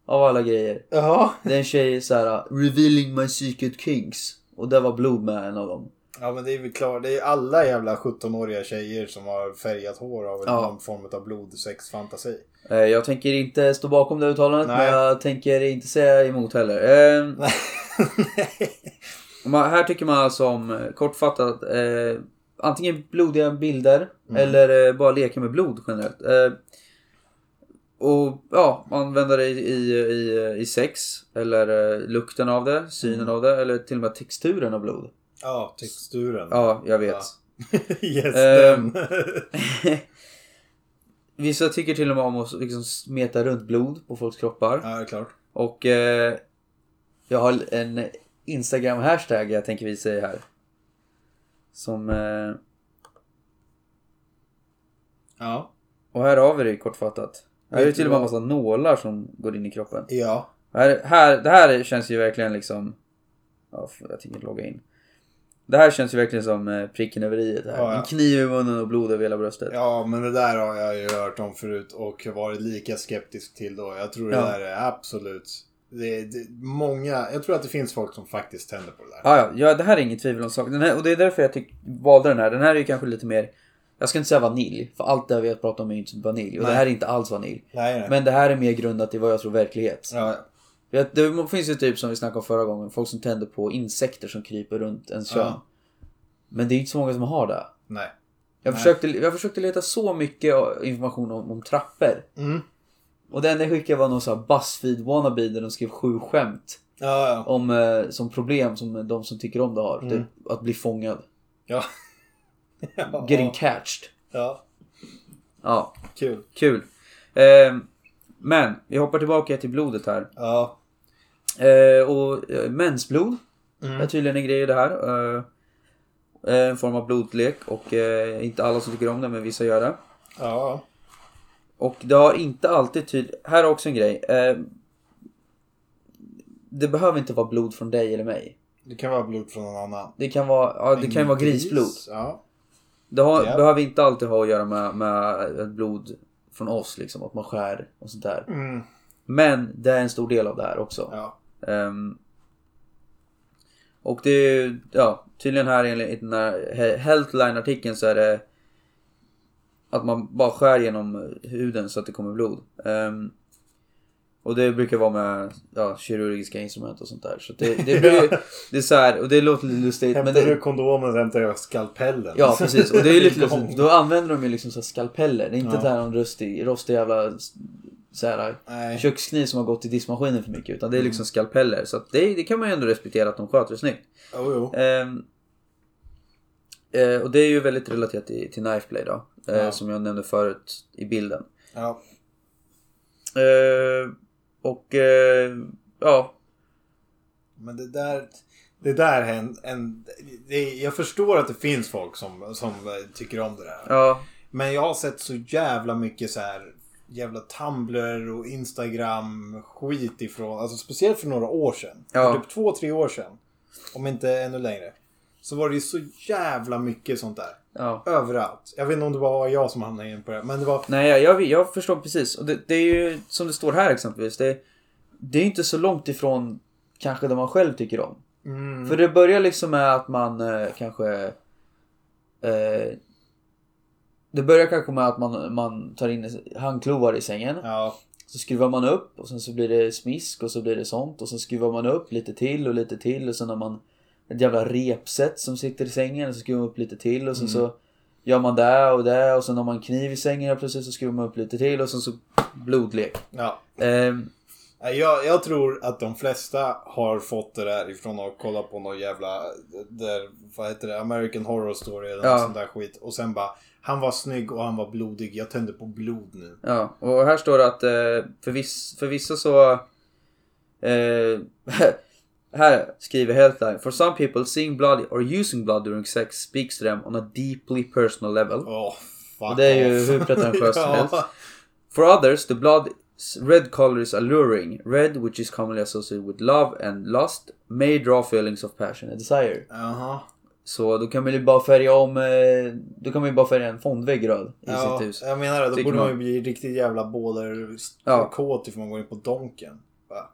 Speaker 2: av alla grejer.
Speaker 1: Jaha.
Speaker 2: Det är en tjej såhär, revealing my secret kings. Och där var blod med en av dem.
Speaker 1: Ja men det är väl klart. Det är alla jävla 17-åriga tjejer som har färgat hår av
Speaker 2: Ja.
Speaker 1: någon form av blodsexfantasi.
Speaker 2: Eh, Jag tänker inte stå bakom det uttalandet
Speaker 1: Nej.
Speaker 2: men jag tänker inte säga emot heller. Eh,
Speaker 1: Nej.
Speaker 2: man, här tycker man alltså om eh, kortfattat eh, antingen blodiga bilder
Speaker 1: Mm.
Speaker 2: eller eh, bara leka med blod generellt. Eh, och ja, använda det i, i, i, i sex eller eh, lukten av det, synen
Speaker 1: Mm.
Speaker 2: av det eller till och med texturen av blod.
Speaker 1: Ja, typ. texturen.
Speaker 2: Ja, jag vet.
Speaker 1: Mm. Ja. yes,
Speaker 2: Ehm.
Speaker 1: den.
Speaker 2: Vissa tycker till och med om att liksom smeta runt blod på folks kroppar.
Speaker 1: ja, det är klart.
Speaker 2: Och eh, jag har en Instagram-hashtag jag tänker visa er här. Som... Eh,
Speaker 1: Ja.
Speaker 2: och här har vi det kortfattat. Här är det
Speaker 1: Vet du
Speaker 2: till och med en
Speaker 1: vad?
Speaker 2: massa nålar som går in i kroppen.
Speaker 1: Ja.
Speaker 2: Här, här, det här känns ju verkligen liksom... Ja, för- jag tänker inte logga in. Det här känns ju verkligen som eh, pricken över i det här.
Speaker 1: Ja, ja.
Speaker 2: En kniv i munnen och blod över hela bröstet.
Speaker 1: Ja, men det där har jag ju hört om förut och varit lika skeptisk till då. Jag tror det
Speaker 2: Ja.
Speaker 1: där är absolut... Det, det, många, jag tror att det finns folk som faktiskt tänder på det där.
Speaker 2: Ah, ja, ja, det här är inget tvivel om saken. Den här, och det är därför jag tyck, valde den här. Den här är ju kanske lite mer... Jag ska inte säga vanilj, för allt det här vi har pratat om är ju inte vanilj. Och
Speaker 1: Nej.
Speaker 2: det här är inte alls vanilj.
Speaker 1: Nej, nej.
Speaker 2: Men det här är mer grundat i vad jag tror verklighet.
Speaker 1: Ja,
Speaker 2: För att Det finns ju typ som vi snackade om förra gången, folk som tänder på insekter som kryper runt ens kön.
Speaker 1: Ja.
Speaker 2: Men det är inte så många som har det.
Speaker 1: nej.
Speaker 2: Jag
Speaker 1: Nej.
Speaker 2: försökte, jag försökte leta så mycket information om, om trappor.
Speaker 1: Mm.
Speaker 2: Och den jag skickade var någon sån här Buzzfeed wannabe där de skrev sju skämt.
Speaker 1: Ja, ja.
Speaker 2: Om, eh, som problem som de som tycker om det har.
Speaker 1: Mm.
Speaker 2: Typ att bli fångad.
Speaker 1: Ja. ja.
Speaker 2: Getting catched.
Speaker 1: Ja,
Speaker 2: Ja,
Speaker 1: kul.
Speaker 2: kul. Eh, men, vi hoppar tillbaka till blodet här.
Speaker 1: Ja.
Speaker 2: Eh, och eh, mensblod
Speaker 1: Mm.
Speaker 2: är tydligen en grej i det här. Eh, eh, en form av blodlek och eh, inte alla som tycker om det men vissa gör det.
Speaker 1: Ja.
Speaker 2: Och det har inte alltid tyd... Här är också en grej. Eh, det behöver inte vara blod från dig eller mig.
Speaker 1: Det kan vara blod från någon annan.
Speaker 2: Det kan vara, ja, det kan ju vara grisblod.
Speaker 1: Ja.
Speaker 2: Det har,
Speaker 1: Ja.
Speaker 2: behöver inte alltid ha att göra med, med ett blod från oss liksom. Att man skär och sånt där.
Speaker 1: Mm.
Speaker 2: Men det är en stor del av det här också.
Speaker 1: Ja.
Speaker 2: Ehm, och det är ju, ja, tydligen här enligt den här He- Healthline-artikeln så är det att man bara skär genom huden så att det kommer blod. Ehm, och det brukar vara med ja, kirurgiska instrument och sånt där. Så det, det, blir, ju- det är så här, och det låter lite lustigt.
Speaker 1: Hämtar
Speaker 2: men det,
Speaker 1: du kondomen så hämtar jag skalpellen.
Speaker 2: Ja precis, och det är ju lite lustigt.
Speaker 1: Gång.
Speaker 2: Då använder de ju liksom så här skalpeller. Det är inte
Speaker 1: Ja.
Speaker 2: det här någon rostig, rostig jävla så här,
Speaker 1: Nej.
Speaker 2: kökskniv som har gått i diskmaskinen för mycket. Utan det är liksom skalpeller. Så att det, det kan man ju ändå respektera att de sköter snyggt.
Speaker 1: Jo, jo.
Speaker 2: Ehm, eh, och det är ju väldigt relaterat till, till Knifeplay då. Eh,
Speaker 1: Ja.
Speaker 2: Som jag nämnde förut i bilden.
Speaker 1: Ja.
Speaker 2: Eh, och eh, ja,
Speaker 1: Men det där... Det där är en, en, det, Jag förstår att det finns folk som, som eh, tycker om det där.
Speaker 2: ja,
Speaker 1: Men jag har sett så jävla mycket så här jävla Tumblr och Instagram skit ifrån, alltså speciellt för några år sedan.
Speaker 2: Ja.
Speaker 1: För typ två, tre år sedan. Om inte ännu längre. Så var det ju så jävla mycket sånt där.
Speaker 2: ja.
Speaker 1: Överallt. Jag vet inte om det var jag som hamnade in på det, men det var...
Speaker 2: Nej, jag, jag, jag förstår precis. Och det, det är ju som det står här exempelvis. Det, det är inte så långt ifrån kanske det man själv tycker om.
Speaker 1: Mm.
Speaker 2: För det börjar liksom med att man eh, kanske... Eh, det börjar kanske med att man, man tar in handklovar i sängen.
Speaker 1: Ja.
Speaker 2: Så skruvar man upp och sen så blir det smisk och så blir det sånt. Och sen skruvar man upp lite till och lite till. Och sen har man ett jävla repset som sitter i sängen. Och så skruvar man upp lite till och sen så gör man det och det. Och sen har man en kniv i sängen och plötsligt så skruvar man upp lite till. Och sen så blodlek.
Speaker 1: ja.
Speaker 2: Ehm,
Speaker 1: Nej, Jag, jag tror att de flesta har fått det där ifrån att kolla på någon jävla, där, vad heter det, American Horror Story eller
Speaker 2: Ja.
Speaker 1: något sånt där skit. Och sen bara, han var snygg och han var blodig, jag tände på blod nu.
Speaker 2: Ja, och här står det att eh, för, viss, för vissa så... Eh, här skriver Healthline. For some people seeing blood or using blood during sex speaks to them on a deeply personal level.
Speaker 1: Åh, fuck
Speaker 2: Det är ju
Speaker 1: off.
Speaker 2: hur pretentiöst som helst.
Speaker 1: ja.
Speaker 2: For others the blood red color is alluring. Red which is commonly associated with love and lust may draw feelings of passion and desire.
Speaker 1: Jaha.
Speaker 2: Så då kan man ju bara färga om... Eh, då kan man ju bara färga en fondvägg röd i
Speaker 1: Ja,
Speaker 2: sitt hus.
Speaker 1: jag menar det. Då
Speaker 2: Tycker
Speaker 1: borde
Speaker 2: man.
Speaker 1: man ju bli riktigt jävla båler
Speaker 2: Ja.
Speaker 1: ja. kåt ifall man går in på Donken. Va?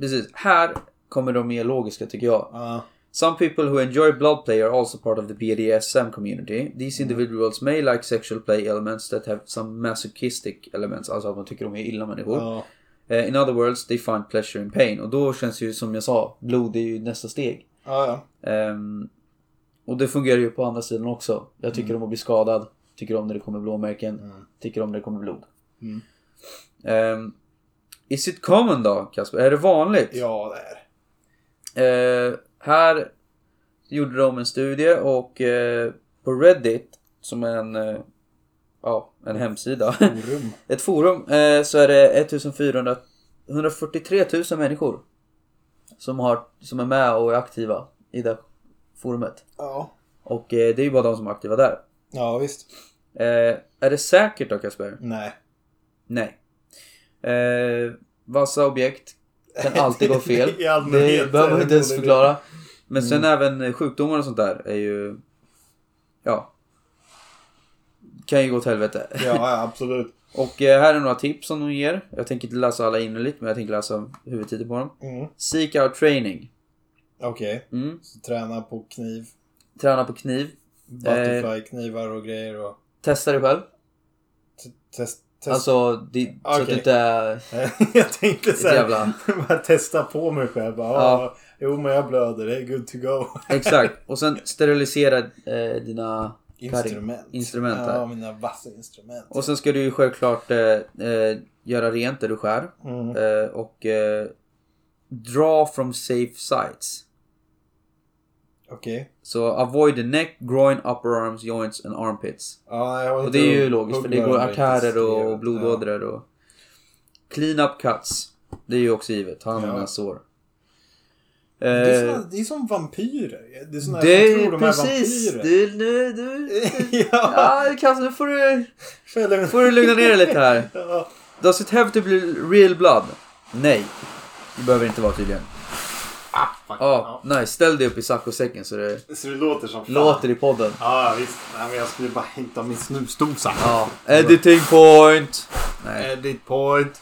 Speaker 2: Precis. Här kommer de mer logiska tycker jag.
Speaker 1: Ja.
Speaker 2: Some people who enjoy blood play are also part of the BDSM community.
Speaker 1: Mm.
Speaker 2: These individuals may like sexual play elements that have some masochistic elements, alltså att man tycker de är illa människor.
Speaker 1: Ja.
Speaker 2: Eh, in other words, they find pleasure in pain. Och då känns det ju som jag sa, blod är ju nästa steg.
Speaker 1: Ja, ja.
Speaker 2: Ehm, och det fungerar ju på andra sidan också. Jag tycker
Speaker 1: Mm.
Speaker 2: om att bli skadad, tycker om när det kommer blåmärken, tycker om när det kommer blod.
Speaker 1: Mm.
Speaker 2: Ehm, is it common då, Kasper? Är det vanligt?
Speaker 1: Ja, det är
Speaker 2: Eh, här gjorde de en studie och eh, på Reddit, som är en, eh, ja, en hemsida,
Speaker 1: Forum.
Speaker 2: ett forum, eh, så är det 1400, 143 000 människor som, har, som är med och är aktiva i det forumet.
Speaker 1: Ja.
Speaker 2: Och eh, det är ju bara de som är aktiva där.
Speaker 1: Ja, visst.
Speaker 2: Eh, är det säkert då Kasper?
Speaker 1: Nej.
Speaker 2: Nej. Eh, vassa objekt kan alltid gå fel.
Speaker 1: I allmänhet
Speaker 2: Det behöver man
Speaker 1: är
Speaker 2: inte ens
Speaker 1: dålig
Speaker 2: förklara. Men sen även sjukdomar och sånt där är ju... Ja. Kan ju gå åt helvete.
Speaker 1: idé. Ja, ja, absolut.
Speaker 2: Och eh, här är några tips som de ger. Jag tänker inte läsa alla innerligt men jag tänker läsa huvudtiteln på dem.
Speaker 1: Mm.
Speaker 2: Seek out training.
Speaker 1: Okej.
Speaker 2: Mm.
Speaker 1: Så träna på kniv.
Speaker 2: Träna på kniv. Eh.
Speaker 1: Butterfly-knivar och grejer och...
Speaker 2: Testa dig själv.
Speaker 1: te- Test, test.
Speaker 2: Alltså, det, så att du
Speaker 1: Okej.
Speaker 2: inte är...
Speaker 1: jag tänkte så här,
Speaker 2: jävla-
Speaker 1: bara testa på mig själv. Bara,
Speaker 2: Ja.
Speaker 1: ja. Jo, men jag blöder. Det är good to go.
Speaker 2: Exakt. Och sen sterilisera eh, dina...
Speaker 1: Instrument.
Speaker 2: Instrument,
Speaker 1: Ja,
Speaker 2: ja.
Speaker 1: mina vassa instrument.
Speaker 2: Och sen ska du ju självklart eh, eh, göra rent där du skär.
Speaker 1: Mm.
Speaker 2: Eh, och eh, draw from safe sites.
Speaker 1: Okej.
Speaker 2: Så avoid the neck, groin, upper arms, joints and armpits.
Speaker 1: Ja, jag håller
Speaker 2: Och det är
Speaker 1: inte
Speaker 2: ju
Speaker 1: och
Speaker 2: logiskt för det
Speaker 1: hugger
Speaker 2: går
Speaker 1: varandra
Speaker 2: artärer
Speaker 1: riktigt
Speaker 2: och
Speaker 1: steget.
Speaker 2: blodådror och... Clean up cuts. Det är ju också givet. Ta hand om
Speaker 1: Ja.
Speaker 2: dina sår.
Speaker 1: Ja. Det, är
Speaker 2: Eh,
Speaker 1: såna, det är som vampyrer. Det är såna
Speaker 2: det
Speaker 1: som tror
Speaker 2: är
Speaker 1: de är
Speaker 2: precis!
Speaker 1: vampyrer.
Speaker 2: Du, nu, du...
Speaker 1: ja,
Speaker 2: Ja, Kasse, nu får du,
Speaker 1: Fäller-
Speaker 2: får du lugna ner dig lite här.
Speaker 1: Ja.
Speaker 2: Does it have to be real blood? Nej. Det behöver inte vara tydligen.
Speaker 1: Ah, Fuck,
Speaker 2: Ja, nice. Ställ dig upp i saccosäcken så det
Speaker 1: ja. Så det låter som fan.
Speaker 2: låter i podden.
Speaker 1: Ja, visst. Nej, men jag skulle bara hämta min snusdosa.
Speaker 2: Ja. Editing point! Nej.
Speaker 1: Edit point.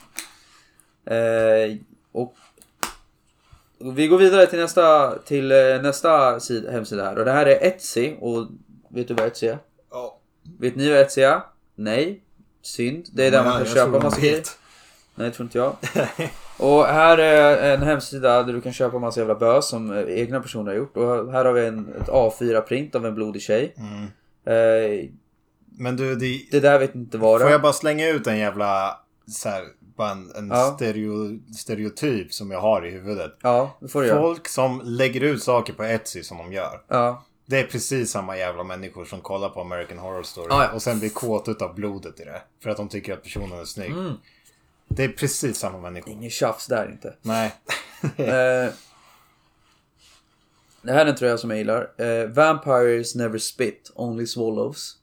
Speaker 2: Eh, och och vi går vidare till nästa, till eh, nästa sid, hemsida här. Och det här är Etsy. Och vet du vad Etsy är?
Speaker 1: Ja.
Speaker 2: Vet ni vad Etsy är? Nej. Synd. Det är där man kan köpa massa grejer. Nej, det tror inte jag. och här är en hemsida där du kan köpa massa jävla bös som eh, egna personer har gjort. Och här har vi en, ett A4-print av en blodig tjej.
Speaker 1: Mm.
Speaker 2: Eh,
Speaker 1: Men du, det,
Speaker 2: det där vet inte vad det
Speaker 1: får
Speaker 2: är.
Speaker 1: jag bara slänga ut en jävla så här, bara en, en
Speaker 2: Ja.
Speaker 1: stereo, stereotyp som jag har i huvudet.
Speaker 2: Ja, det får du göra.
Speaker 1: Folk som lägger ut saker på Etsy som de gör.
Speaker 2: Ja.
Speaker 1: Det är precis samma jävla människor som kollar på American Horror Story
Speaker 2: Ah, ja.
Speaker 1: och sen blir kåta utav blodet i det. För att de tycker att personen är snygg.
Speaker 2: Mm.
Speaker 1: Det är precis samma människor.
Speaker 2: Ingen tjafs där inte.
Speaker 1: Nej.
Speaker 2: Eh, det här är en tröja som jag gillar. Eh, Vampires never spit, only swallows.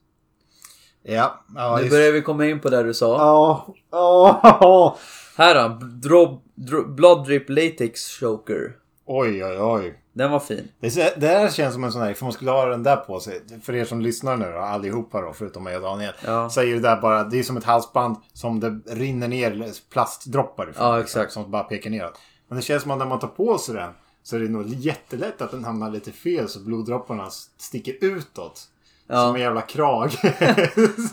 Speaker 1: ja. Ja,
Speaker 2: nu
Speaker 1: just-
Speaker 2: börjar vi komma in på det du sa.
Speaker 1: Ja. Ja.
Speaker 2: Här då, dro- dro- Blood Drip Latex Choker.
Speaker 1: Oj, oj, oj.
Speaker 2: Den var fin.
Speaker 1: Det, är- det här känns som en sån här, för man skulle ha den där på sig. För er som lyssnar nu då, allihopa då, förutom mig och Daniel.
Speaker 2: Ja.
Speaker 1: Så är det där bara, det är som ett halsband som det rinner ner plastdroppar ifrån.
Speaker 2: Ja,
Speaker 1: liksom,
Speaker 2: exakt.
Speaker 1: som bara pekar neråt. Men det känns som att när man tar på sig den Så det är nog jättelätt att den hamnar lite fel så bloddropparna sticker utåt. Som
Speaker 2: Ja,
Speaker 1: en jävla krage. Så-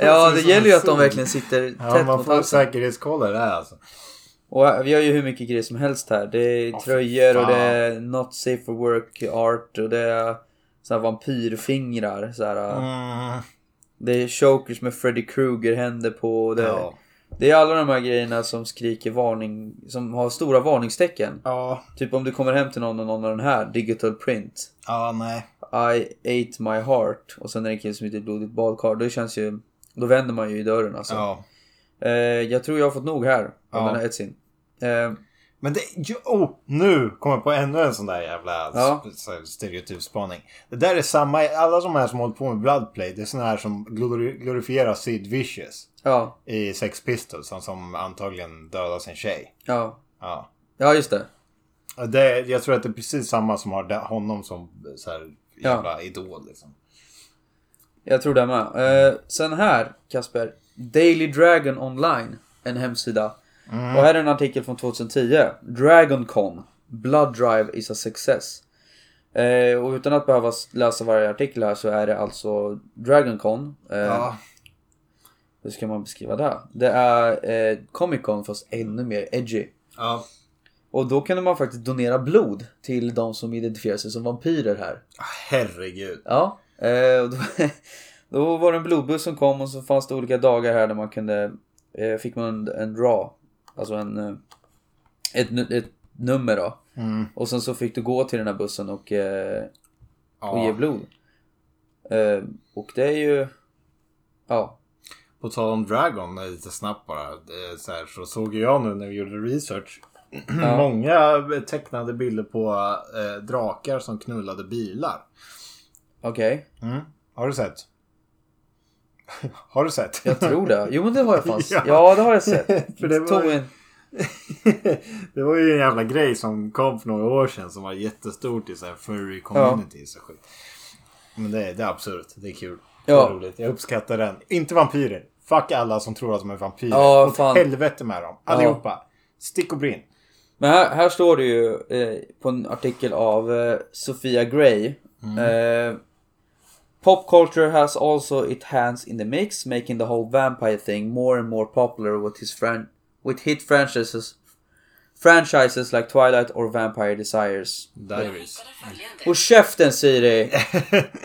Speaker 2: ja
Speaker 1: så-
Speaker 2: det
Speaker 1: som
Speaker 2: gäller ju
Speaker 1: en
Speaker 2: att de
Speaker 1: sol.
Speaker 2: verkligen sitter
Speaker 1: Ja,
Speaker 2: tätt
Speaker 1: man
Speaker 2: mot
Speaker 1: får
Speaker 2: halsen.
Speaker 1: säkerhetskolla det här alltså.
Speaker 2: Och vi har ju hur mycket grejer som helst här. Det är
Speaker 1: Ja, för
Speaker 2: tröjor och
Speaker 1: fan.
Speaker 2: det är not safe for work art och det är så här vampyrfingrar. Så här,
Speaker 1: Mm,
Speaker 2: Det är chokers med Freddy Krueger händer på. Och det,
Speaker 1: ja.
Speaker 2: det är alla de här grejerna som skriker varning, som har stora varningstecken.
Speaker 1: ja.
Speaker 2: Typ om du kommer hem till någon och någon har den här, digital print.
Speaker 1: Ja, nej.
Speaker 2: I ate my heart. Och sen är det en kille som heter ett blodigt badkar. Då känns ju... Då vänder man ju i dörren alltså.
Speaker 1: Ja.
Speaker 2: Eh, jag tror jag har fått nog här. Av
Speaker 1: Ja.
Speaker 2: den här etsin. Eh,
Speaker 1: Men det... Jo, oh, nu kommer jag på ännu en sån där jävla
Speaker 2: Ja.
Speaker 1: sp- så här stereotyp spaning. Det där är samma... Alla de här som håller på med Bloodplay, det är såna här som glori- glorifierar Sid Vicious
Speaker 2: ja,
Speaker 1: i Sex Pistols. Han som antagligen dödar sin tjej.
Speaker 2: ja.
Speaker 1: Ja.
Speaker 2: Ja, just det.
Speaker 1: Ja, Det, jag tror att det är precis samma som har det- honom som så här, jävla idol. Liksom.
Speaker 2: Jag tror det med. Eh, sen här, Kasper. Daily Dragon Online. En hemsida. Och här är en artikel från 2010. DragonCon. Blood Drive is a success. Eh, och utan att behöva s- läsa varje artikel här så är det alltså DragonCon. Eh,
Speaker 1: Ja.
Speaker 2: Hur ska man beskriva det? Det är eh, Comic Con fast ännu mer edgy.
Speaker 1: Ja.
Speaker 2: Och då kunde man faktiskt donera blod till de som identifierar sig som vampyrer här.
Speaker 1: Herregud.
Speaker 2: Ja. Eh, och då, då var det en blodbuss som kom och så fanns det olika dagar här där man kunde... Eh, fick man en, en draw. Alltså en... eh, Ett, nu- ett nummer då.
Speaker 1: Mm.
Speaker 2: Och sen så fick du gå till den här bussen och, eh, och ge
Speaker 1: Ja.
Speaker 2: blod. Eh, och det är ju... Ja.
Speaker 1: På tal om Dragon eh, lite snabbt bara. eh, Så, här, så såg jag nu när vi gjorde research.
Speaker 2: Ja.
Speaker 1: Många tecknade bilder på eh, drakar som knullade bilar.
Speaker 2: Okej.
Speaker 1: Mm. Har du sett? har du sett?
Speaker 2: Jag tror det. Jo men det har jag fan
Speaker 1: Ja.
Speaker 2: ja. det har jag sett.
Speaker 1: För det var
Speaker 2: Tog
Speaker 1: ju-
Speaker 2: en...
Speaker 1: det var ju en jävla grej som kom för några år sedan som var jättestort i så här furry communities och skit. Men det är, det är absurt. Det är kul. Det
Speaker 2: Ja.
Speaker 1: är roligt. Jag uppskattar den. Inte vampyrer. Fuck alla som tror att de är vampyrer.
Speaker 2: Ja,
Speaker 1: Åt
Speaker 2: fan.
Speaker 1: helvete med dem. Allihopa. Stick och brinn.
Speaker 2: Men här, här står det ju eh, på en artikel av eh, Sofia Gray.
Speaker 1: Mm.
Speaker 2: Eh, Pop culture has also its hands in the mix, making the whole vampire thing more and more popular with his fran- with hit franchises franchises like Twilight or Vampire Desires.
Speaker 1: Mm. Diaries.
Speaker 2: Och käften Siri!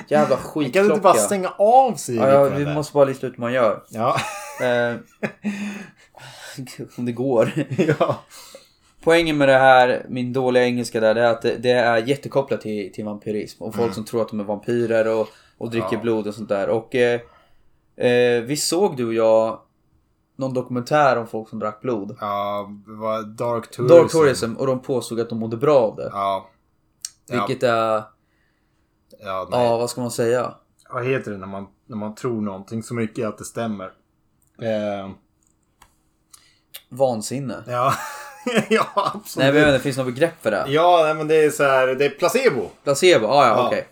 Speaker 2: Jävla
Speaker 1: Kan du inte bara
Speaker 2: skitklocka.
Speaker 1: stänga av Siri
Speaker 2: Ja, ja,
Speaker 1: på
Speaker 2: vi
Speaker 1: den där?
Speaker 2: måste bara lista ut hur man gör.
Speaker 1: Ja.
Speaker 2: Eh, om det går.
Speaker 1: ja.
Speaker 2: Poängen med det här, min dåliga engelska där, det är att det, det är jättekopplat till, till vampyrism. Och folk som tror att de är vampyrer och, och dricker
Speaker 1: Mm. Ja.
Speaker 2: blod och sånt där. Och eh, eh, vi såg du och jag någon dokumentär om folk som drack blod.
Speaker 1: Ja, det var Dark Tourism.
Speaker 2: Dark tourism och de påstod att de mådde bra av det.
Speaker 1: Ja. Ja,
Speaker 2: Vilket är,
Speaker 1: ja, nej.
Speaker 2: ja vad ska man säga?
Speaker 1: vad heter det när man, när man tror någonting så mycket att det stämmer? Eh,
Speaker 2: Vansinne.
Speaker 1: ja. ja, absolut.
Speaker 2: Nej men jag vet inte, finns det något begrepp för det?
Speaker 1: Ja, nej, men det är så här, det är placebo.
Speaker 2: Placebo, ah, ja,
Speaker 1: Ja.
Speaker 2: okej.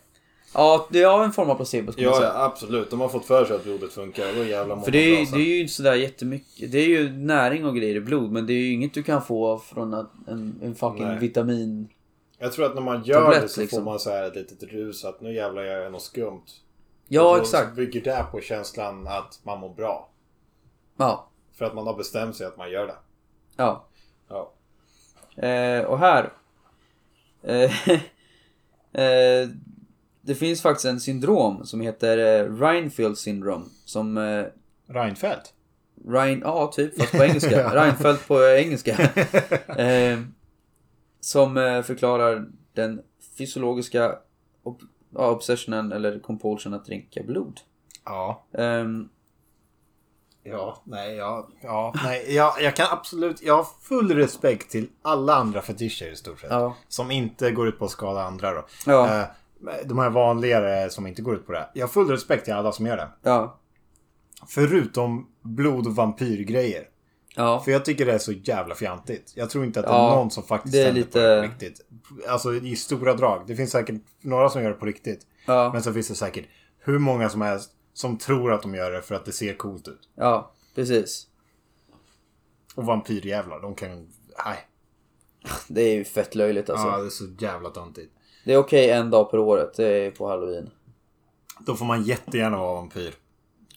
Speaker 2: Ja, det är en form av placebo skulle man säga.
Speaker 1: absolut. De har fått för sig att blodet funkar. Då jävlar mår
Speaker 2: För
Speaker 1: man
Speaker 2: det är,
Speaker 1: bra
Speaker 2: ju-
Speaker 1: sen.
Speaker 2: det är ju inte sådär jättemycket. Det är ju näring och grejer i blod men det är ju inget du kan få från att- en, en fucking
Speaker 1: Nej.
Speaker 2: vitamin.
Speaker 1: Jag tror att när man gör
Speaker 2: Tablett,
Speaker 1: det så
Speaker 2: liksom.
Speaker 1: får man så här ett litet rus att nu jävlar gör jag något skumt.
Speaker 2: Ja
Speaker 1: Och då
Speaker 2: exakt.
Speaker 1: bygger det på känslan att man mår bra.
Speaker 2: Ja.
Speaker 1: För att man har bestämt sig att man gör det.
Speaker 2: ja.
Speaker 1: Ja.
Speaker 2: Eh, och här. Eh, eh, det finns faktiskt en syndrom som heter eh, Reinfeldt syndrom. Som eh,
Speaker 1: Reinfeldt?
Speaker 2: Rein, ja typ fast på engelska. Reinfeldt på eh, engelska. eh, som eh, förklarar den fysiologiska ob- ja, obsessionen eller compulsion att dricka blod.
Speaker 1: ja.
Speaker 2: Ehm,
Speaker 1: Ja, nej, ja, ja, nej, jag, jag kan absolut, jag har full respekt till alla andra fetischer i stort sett.
Speaker 2: Ja.
Speaker 1: Som inte går ut på att skada andra då.
Speaker 2: Ja.
Speaker 1: Eh, De här vanligare som inte går ut på det. Jag har full respekt till alla som gör det.
Speaker 2: ja.
Speaker 1: Förutom blod och vampyrgrejer.
Speaker 2: Ja.
Speaker 1: För jag tycker det är så jävla fjantigt. Jag tror inte att det
Speaker 2: Ja,
Speaker 1: är någon som faktiskt
Speaker 2: det är
Speaker 1: tänder
Speaker 2: lite-
Speaker 1: på det på riktigt. Alltså i stora drag. Det finns säkert några som gör det på riktigt.
Speaker 2: Ja.
Speaker 1: Men så finns det säkert hur många som helst som tror att de gör det för att det ser coolt ut.
Speaker 2: Ja. Precis.
Speaker 1: Och vampyrjävlar, de kan... Nej.
Speaker 2: Det är ju fett löjligt alltså.
Speaker 1: Ja, det är så jävla töntigt.
Speaker 2: Det är okej en dag per året, det är på halloween.
Speaker 1: Då får man jättegärna vara vampyr.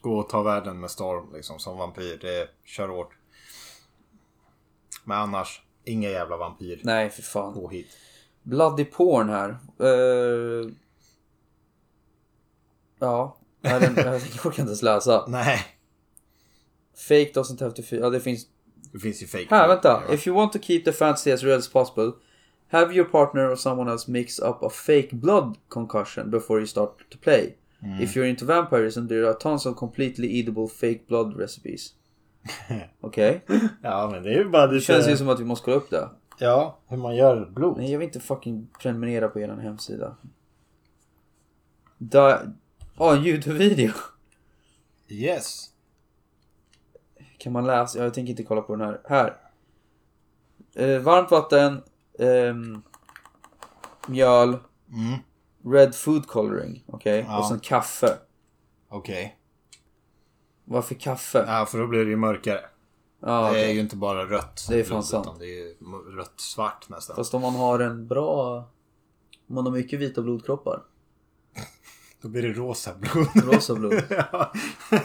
Speaker 1: Gå och ta världen med storm liksom som vampyr. Det kör hårt. Men annars, inga jävla vampyr.
Speaker 2: Nej, för fan.
Speaker 1: Påhitt.
Speaker 2: Bloody porn här. Eh, Ja, Nej, den, jag orkar inte ens läsa.
Speaker 1: Nej.
Speaker 2: Fake doesn't have to feel... Ja, det finns...
Speaker 1: Det finns ju fake.
Speaker 2: Här, vänta. If you want to keep the fantasy as real as possible Have your partner or someone else mix up a fake blood concussion before you start to play. If you're into vampirism there are tons of completely edible fake blood recipes. Okej.
Speaker 1: Ja, men det är ju bara
Speaker 2: Det känns ju som att vi måste kolla upp det.
Speaker 1: Ja, hur man gör blod.
Speaker 2: Nej, jag vill inte fucking prenumerera på er hemsida. Da... Ja, en Youtube-video.
Speaker 1: Yes.
Speaker 2: Kan man läsa? Ja, Jag tänker inte kolla på den här. Här. Eh, varmt vatten. ehm, mjöl.
Speaker 1: Mm.
Speaker 2: Red food coloring. Okej.
Speaker 1: Ja.
Speaker 2: Och sen kaffe.
Speaker 1: Okej.
Speaker 2: Varför kaffe?
Speaker 1: Ja, Eh. för då blir det ju mörkare.
Speaker 2: Ja,
Speaker 1: Det är
Speaker 2: okej.
Speaker 1: ju inte bara rött.
Speaker 2: Det är fan
Speaker 1: blod,
Speaker 2: sant.
Speaker 1: utan Det är ju m- rött-svart nästan.
Speaker 2: Fast om man har en bra... Om man har mycket vita blodkroppar.
Speaker 1: Då blir det rosa blod.
Speaker 2: Rosa blod.
Speaker 1: ja,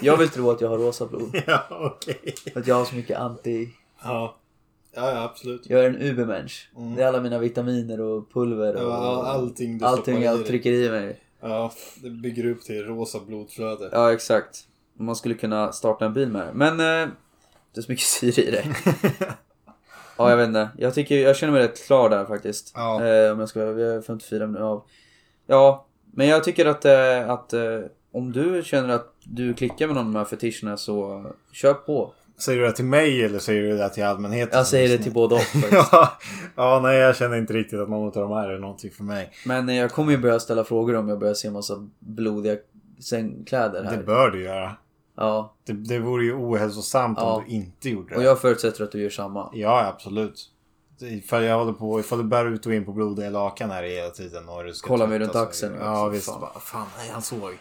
Speaker 2: Jag vill tro att jag har rosa blod.
Speaker 1: ja okej.
Speaker 2: Att jag har så mycket anti...
Speaker 1: Ja. ja, ja, absolut.
Speaker 2: Jag är en ubermensch. Det är alla mina vitaminer och pulver och
Speaker 1: Mm. Ja, allting du
Speaker 2: allting
Speaker 1: stoppar i
Speaker 2: jag
Speaker 1: dig.
Speaker 2: trycker i mig.
Speaker 1: Ja, det bygger upp till rosa blodflöde.
Speaker 2: Ja, exakt. Man skulle kunna starta en bil med det. Men eh, det är så mycket syre i det. ja, jag vet inte. Jag, tycker, jag känner mig rätt klar där faktiskt.
Speaker 1: Ja.
Speaker 2: Eh, om jag ska vara vi har 54 minuter av. Ja, men jag tycker att, eh, att eh, om du känner att du klickar med någon av de här fetischerna så eh, kör på.
Speaker 1: Säger du det till mig eller säger du det till allmänheten?
Speaker 2: Jag säger det till både och faktiskt.
Speaker 1: ja, ja, nej jag känner inte riktigt att någon av de här är någonting för mig.
Speaker 2: Men eh, jag kommer ju börja ställa frågor om jag börjar se en massa blodiga sängkläder här.
Speaker 1: Det bör du göra.
Speaker 2: Ja,
Speaker 1: Det, det vore ju ohälsosamt
Speaker 2: Ja.
Speaker 1: om du inte gjorde
Speaker 2: och
Speaker 1: det.
Speaker 2: jag förutsätter att du gör samma.
Speaker 1: Ja, absolut. Ifall jag håller på, ifall du bär ut och in på blodiga lakan här hela tiden och du ska
Speaker 2: Kolla mig
Speaker 1: tvätta
Speaker 2: runt
Speaker 1: så-
Speaker 2: axeln.
Speaker 1: Ja,
Speaker 2: Alltså,
Speaker 1: visst.
Speaker 2: fan.
Speaker 1: Fan, bara, fan nej, han såg.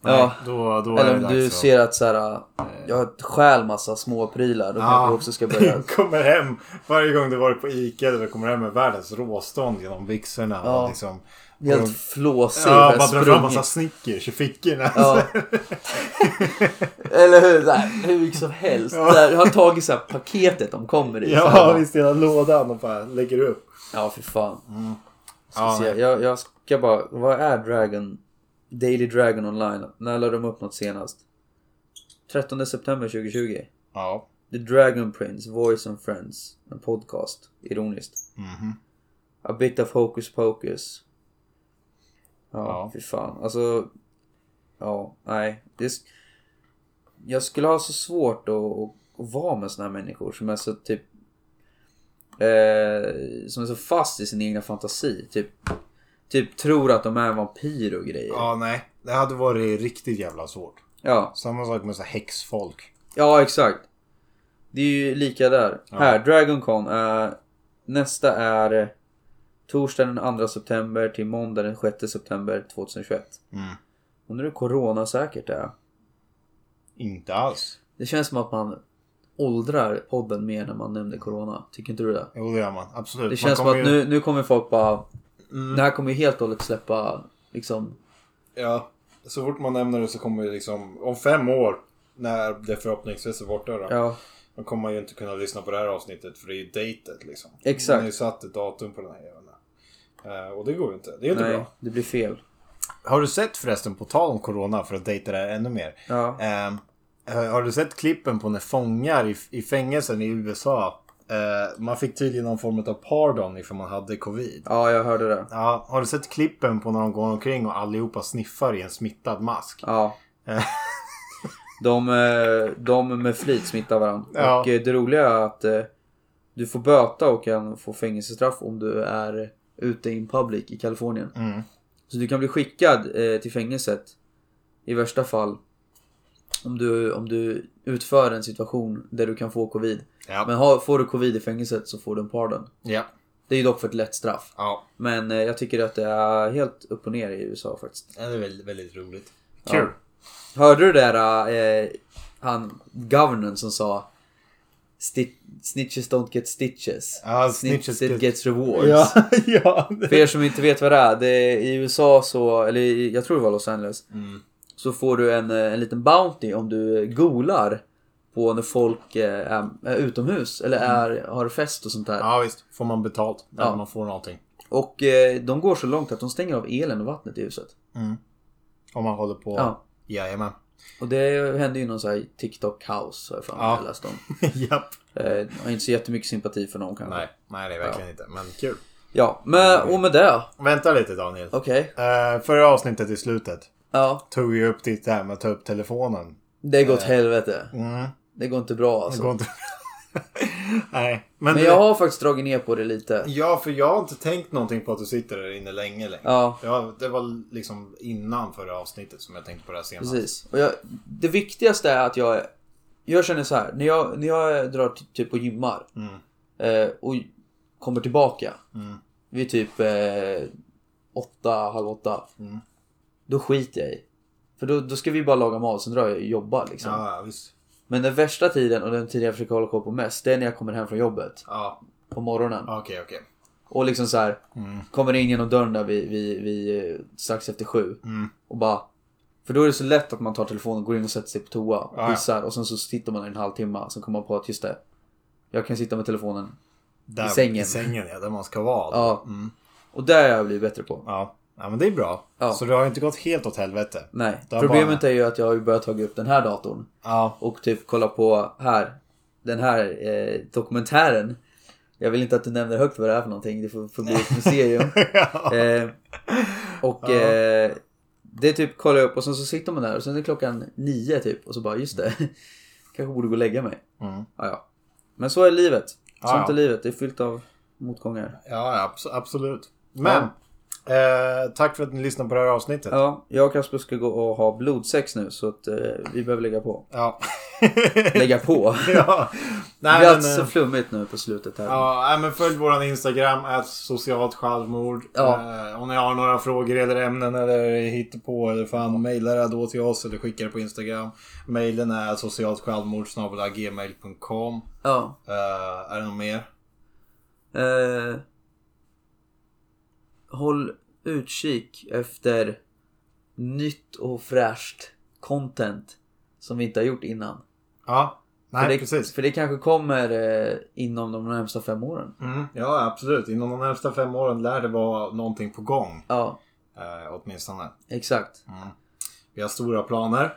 Speaker 2: Ja.
Speaker 1: Nej, Då, då är
Speaker 2: Eller
Speaker 1: det
Speaker 2: om
Speaker 1: dags
Speaker 2: du
Speaker 1: att-
Speaker 2: ser att så här, äh, jag stjäl massa små prylar då kanske
Speaker 1: Ja.
Speaker 2: du också ska börja.
Speaker 1: kommer hem varje gång du varit på Ica eller kommer hem med världens råstånd genom byxorna.
Speaker 2: Ja.
Speaker 1: Och liksom, och-
Speaker 2: Helt flåsig.
Speaker 1: Ja,
Speaker 2: bara
Speaker 1: bara dra fram massa
Speaker 2: sprungit.
Speaker 1: Snickers i fickorna.
Speaker 2: Ja. Eller hur? Så här, hur mycket som helst.
Speaker 1: Ja.
Speaker 2: Så här, jag har tagit så här, paketet de kommer i. så här,
Speaker 1: Ja,
Speaker 2: bara,
Speaker 1: visst hela lådan och bara lägger upp.
Speaker 2: ja för fan. Ska
Speaker 1: Ja,
Speaker 2: se.
Speaker 1: nej.
Speaker 2: Jag, jag ska bara, vad är Dragon? Daily Dragon online? När la de upp något senast? 13 september 2020.
Speaker 1: Ja.
Speaker 2: The Dragon Prince, Voice and Friends. En podcast. Ironiskt.
Speaker 1: Mhm.
Speaker 2: A bit of hocus pocus. Ja,
Speaker 1: Ja.
Speaker 2: fy fan. Alltså... Ja, nej. Det är, sk- jag skulle ha så svårt att, att, att vara med såna här människor som är så typ... Eh, som är så fast i sin egna fantasi. Typ, typ tror att de är en vampyr och grejer. Ja.
Speaker 1: ja, nej. Det hade varit riktigt jävla svårt.
Speaker 2: Ja,
Speaker 1: Samma sak med så här häxfolk.
Speaker 2: exakt. Det är ju lika där. Här, Dragon Con. Eh, nästa är eh, torsdagen den 2 september till måndag den 6 september 2021.
Speaker 1: Mm.
Speaker 2: Undrar hur coronasäkert det är.
Speaker 1: Inte alls.
Speaker 2: Det känns som att man åldrar podden mer när man nämner corona. Tycker inte du det?
Speaker 1: Jo, det gör man. Absolut.
Speaker 2: Det
Speaker 1: man
Speaker 2: känns som att
Speaker 1: kommer ju- Mm.
Speaker 2: nu, nu kommer folk bara... Det här kommer ju helt och hållet släppa liksom...
Speaker 1: Ja. Så fort man nämner det så kommer ju liksom... Om fem år, när det förhoppningsvis är borta då.
Speaker 2: Ja,
Speaker 1: Då kommer man ju inte kunna lyssna på det här avsnittet för det är ju datet liksom.
Speaker 2: Exakt.
Speaker 1: Man har ju satt ett datum på den här jäveln. Eh, Och det går ju inte. Det är inte
Speaker 2: nej.
Speaker 1: bra.
Speaker 2: Det blir fel.
Speaker 1: Har du sett förresten, på tal om corona för att dejta det här ännu mer.
Speaker 2: Ja.
Speaker 1: Ehm, eh, har du sett klippen på när fångar i, i fängelsen i USA. eh, man fick tydligen någon form av pardon ifall man hade covid.
Speaker 2: Ja, jag hörde det.
Speaker 1: Ja, har du sett klippen på när de går omkring och allihopa sniffar i en smittad mask?
Speaker 2: Ja. De, eh, de med flit smittar varandra.
Speaker 1: Ja.
Speaker 2: Och eh, det roliga är att eh, du får böta och kan få fängelsestraff om du är ute in public i Kalifornien.
Speaker 1: Mm.
Speaker 2: Så du kan bli skickad eh, till fängelset i värsta fall om du, om du utför en situation där du kan få covid.
Speaker 1: Ja.
Speaker 2: Men har, får du covid i fängelset så får du en pardon.
Speaker 1: Ja.
Speaker 2: Det är ju dock för ett lätt straff.
Speaker 1: ja.
Speaker 2: Men eh, jag tycker att det är helt upp och ner i USA faktiskt.
Speaker 1: Det är väldigt, väldigt roligt. Kul.
Speaker 2: Hörde du det där eh, han, governorn som sa sti- snitches don't get stitches.
Speaker 1: Ja,
Speaker 2: Snitches
Speaker 1: snitches
Speaker 2: get...
Speaker 1: get...
Speaker 2: gets rewards.
Speaker 1: Ja, ja.
Speaker 2: För er som inte vet vad det är, det är i USA så, eller i- jag tror det var Los Angeles,
Speaker 1: Mm.
Speaker 2: så får du en, eh, en liten Bounty om du golar på när folk eh, är, är utomhus eller är, har fest och sånt där.
Speaker 1: Mm. ja, visst. Får man betalt.
Speaker 2: Ja.
Speaker 1: Ja. Man får någonting.
Speaker 2: Och eh, de går så långt att de stänger av elen och vattnet i huset.
Speaker 1: Om man håller på.
Speaker 2: Ja.
Speaker 1: Jajamän.
Speaker 2: Och det hände ju någon sån här TikTok-kaos har jag för mig
Speaker 1: Ja.
Speaker 2: jag läste om.
Speaker 1: Japp.
Speaker 2: Eh, jag har inte så jättemycket sympati för någon kanske.
Speaker 1: Nej, nej det är verkligen inte. Men kul.
Speaker 2: Ja, men och med det.
Speaker 1: Vänta lite Daniel.
Speaker 2: Okej.
Speaker 1: Eh, förra avsnittet i slutet
Speaker 2: Ja,
Speaker 1: tog vi upp ditt det här med att ta upp telefonen.
Speaker 2: det går åt helvete.
Speaker 1: Mm.
Speaker 2: Det går inte bra
Speaker 1: Det
Speaker 2: alltså.
Speaker 1: går inte... nej. Men,
Speaker 2: Men
Speaker 1: du-
Speaker 2: jag har faktiskt dragit ner på det lite.
Speaker 1: Ja, för jag har inte tänkt någonting på att du sitter där inne länge längre.
Speaker 2: Ja,
Speaker 1: Ja, det var liksom innan förra avsnittet som jag tänkte på det här senast.
Speaker 2: precis. Och jag, det viktigaste är att jag... Jag känner så här. När jag, när jag drar ty- typ och gymmar
Speaker 1: Mm.
Speaker 2: eh, och kommer tillbaka
Speaker 1: Mm.
Speaker 2: vid typ eh, åtta, halv åtta.
Speaker 1: Mm.
Speaker 2: Då skiter jag i. För då, då ska vi bara laga mat, sen drar jag och jobbar liksom.
Speaker 1: Ja, ja, visst.
Speaker 2: Men den värsta tiden och den tiden jag försöker hålla koll på mest, det är när jag kommer hem från jobbet.
Speaker 1: Ja,
Speaker 2: På morgonen.
Speaker 1: okej, okej.
Speaker 2: Och liksom så här
Speaker 1: Mm.
Speaker 2: kommer in genom dörren där vi, vi, vi eh, strax efter sju.
Speaker 1: Mm.
Speaker 2: Och bara... För då är det så lätt att man tar telefonen, går in och sätter sig på toa, och
Speaker 1: ja.
Speaker 2: pissar och sen så sitter man i en halvtimme. Sen kommer man på att just det, jag kan sitta med telefonen.
Speaker 1: Där,
Speaker 2: I sängen.
Speaker 1: I sängen, ja. Där man ska vara.
Speaker 2: Ja.
Speaker 1: Mm.
Speaker 2: Och det har jag blivit bättre på.
Speaker 1: Ja. ja, men det är bra.
Speaker 2: Ja.
Speaker 1: Så det har ju inte gått helt åt helvete.
Speaker 2: Nej.
Speaker 1: Det har
Speaker 2: Problemet
Speaker 1: bara-
Speaker 2: är ju att jag har ju börjat ta upp den här datorn
Speaker 1: Ja.
Speaker 2: och typ kolla på här, den här eh, dokumentären. Jag vill inte att du nämner högt vad det är för någonting, det får, får bli ett museum. Eh, och
Speaker 1: Ja.
Speaker 2: eh, det typ kollar jag upp och sen så sitter man där och sen är det klockan nio typ och så bara just det. Kanske borde gå och lägga mig.
Speaker 1: Mm.
Speaker 2: Ja, ja. Men så är livet. Sånt
Speaker 1: Ja, ja.
Speaker 2: är livet. Det är fyllt av motgångar.
Speaker 1: Ja, ja, abs- absolut. Men, eh, tack för att ni lyssnade på det här avsnittet. Ja.
Speaker 2: Ja, jag och Kasper ska gå och ha blodsex nu så att eh, vi behöver lägga på.
Speaker 1: Ja.
Speaker 2: Lägga på? det
Speaker 1: Nej,
Speaker 2: blir
Speaker 1: men,
Speaker 2: så
Speaker 1: eh,
Speaker 2: flummigt nu på slutet här.
Speaker 1: ja, nej, men följ våran Instagram, att socialt självmord.
Speaker 2: Ja.
Speaker 1: Eh, om ni har några frågor eller ämnen eller hittar på eller fan, mejla det då till oss eller skicka det på Instagram. Mejlen är socialt självmord gmail.com.
Speaker 2: Ja.
Speaker 1: Eh, är det något mer?
Speaker 2: Eh, håll utkik efter nytt och fräscht content som vi inte har gjort innan.
Speaker 1: Ja, nej
Speaker 2: för, det,
Speaker 1: precis.
Speaker 2: för det kanske kommer eh, inom de närmsta fem åren.
Speaker 1: Mm, ja, absolut. Inom de närmsta fem åren lär det vara någonting på gång.
Speaker 2: Ja,
Speaker 1: Eh, åtminstone.
Speaker 2: exakt.
Speaker 1: Vi har stora planer.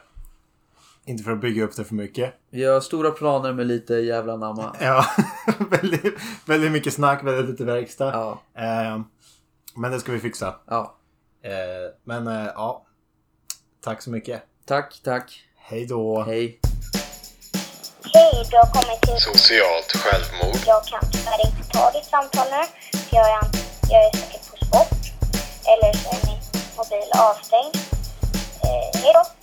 Speaker 1: Inte för att bygga upp det för mycket.
Speaker 2: Vi har stora planer med lite jävla namma.
Speaker 1: Ja, väldigt, väldigt mycket snack, väldigt lite verkstad.
Speaker 2: Ja,
Speaker 1: Eh, men det ska vi fixa.
Speaker 2: ja.
Speaker 1: Eh, men eh, ja, tack så mycket.
Speaker 2: Tack, tack.
Speaker 1: Hej då.
Speaker 2: Hej.
Speaker 3: Hej, du har kommit till...
Speaker 4: Socialt självmord.
Speaker 3: Jag kan tyvärr inte ta ditt samtal nu. för Jag är, jag är säkert på sport. Eller så är min mobil avstängd. Eh, hej då!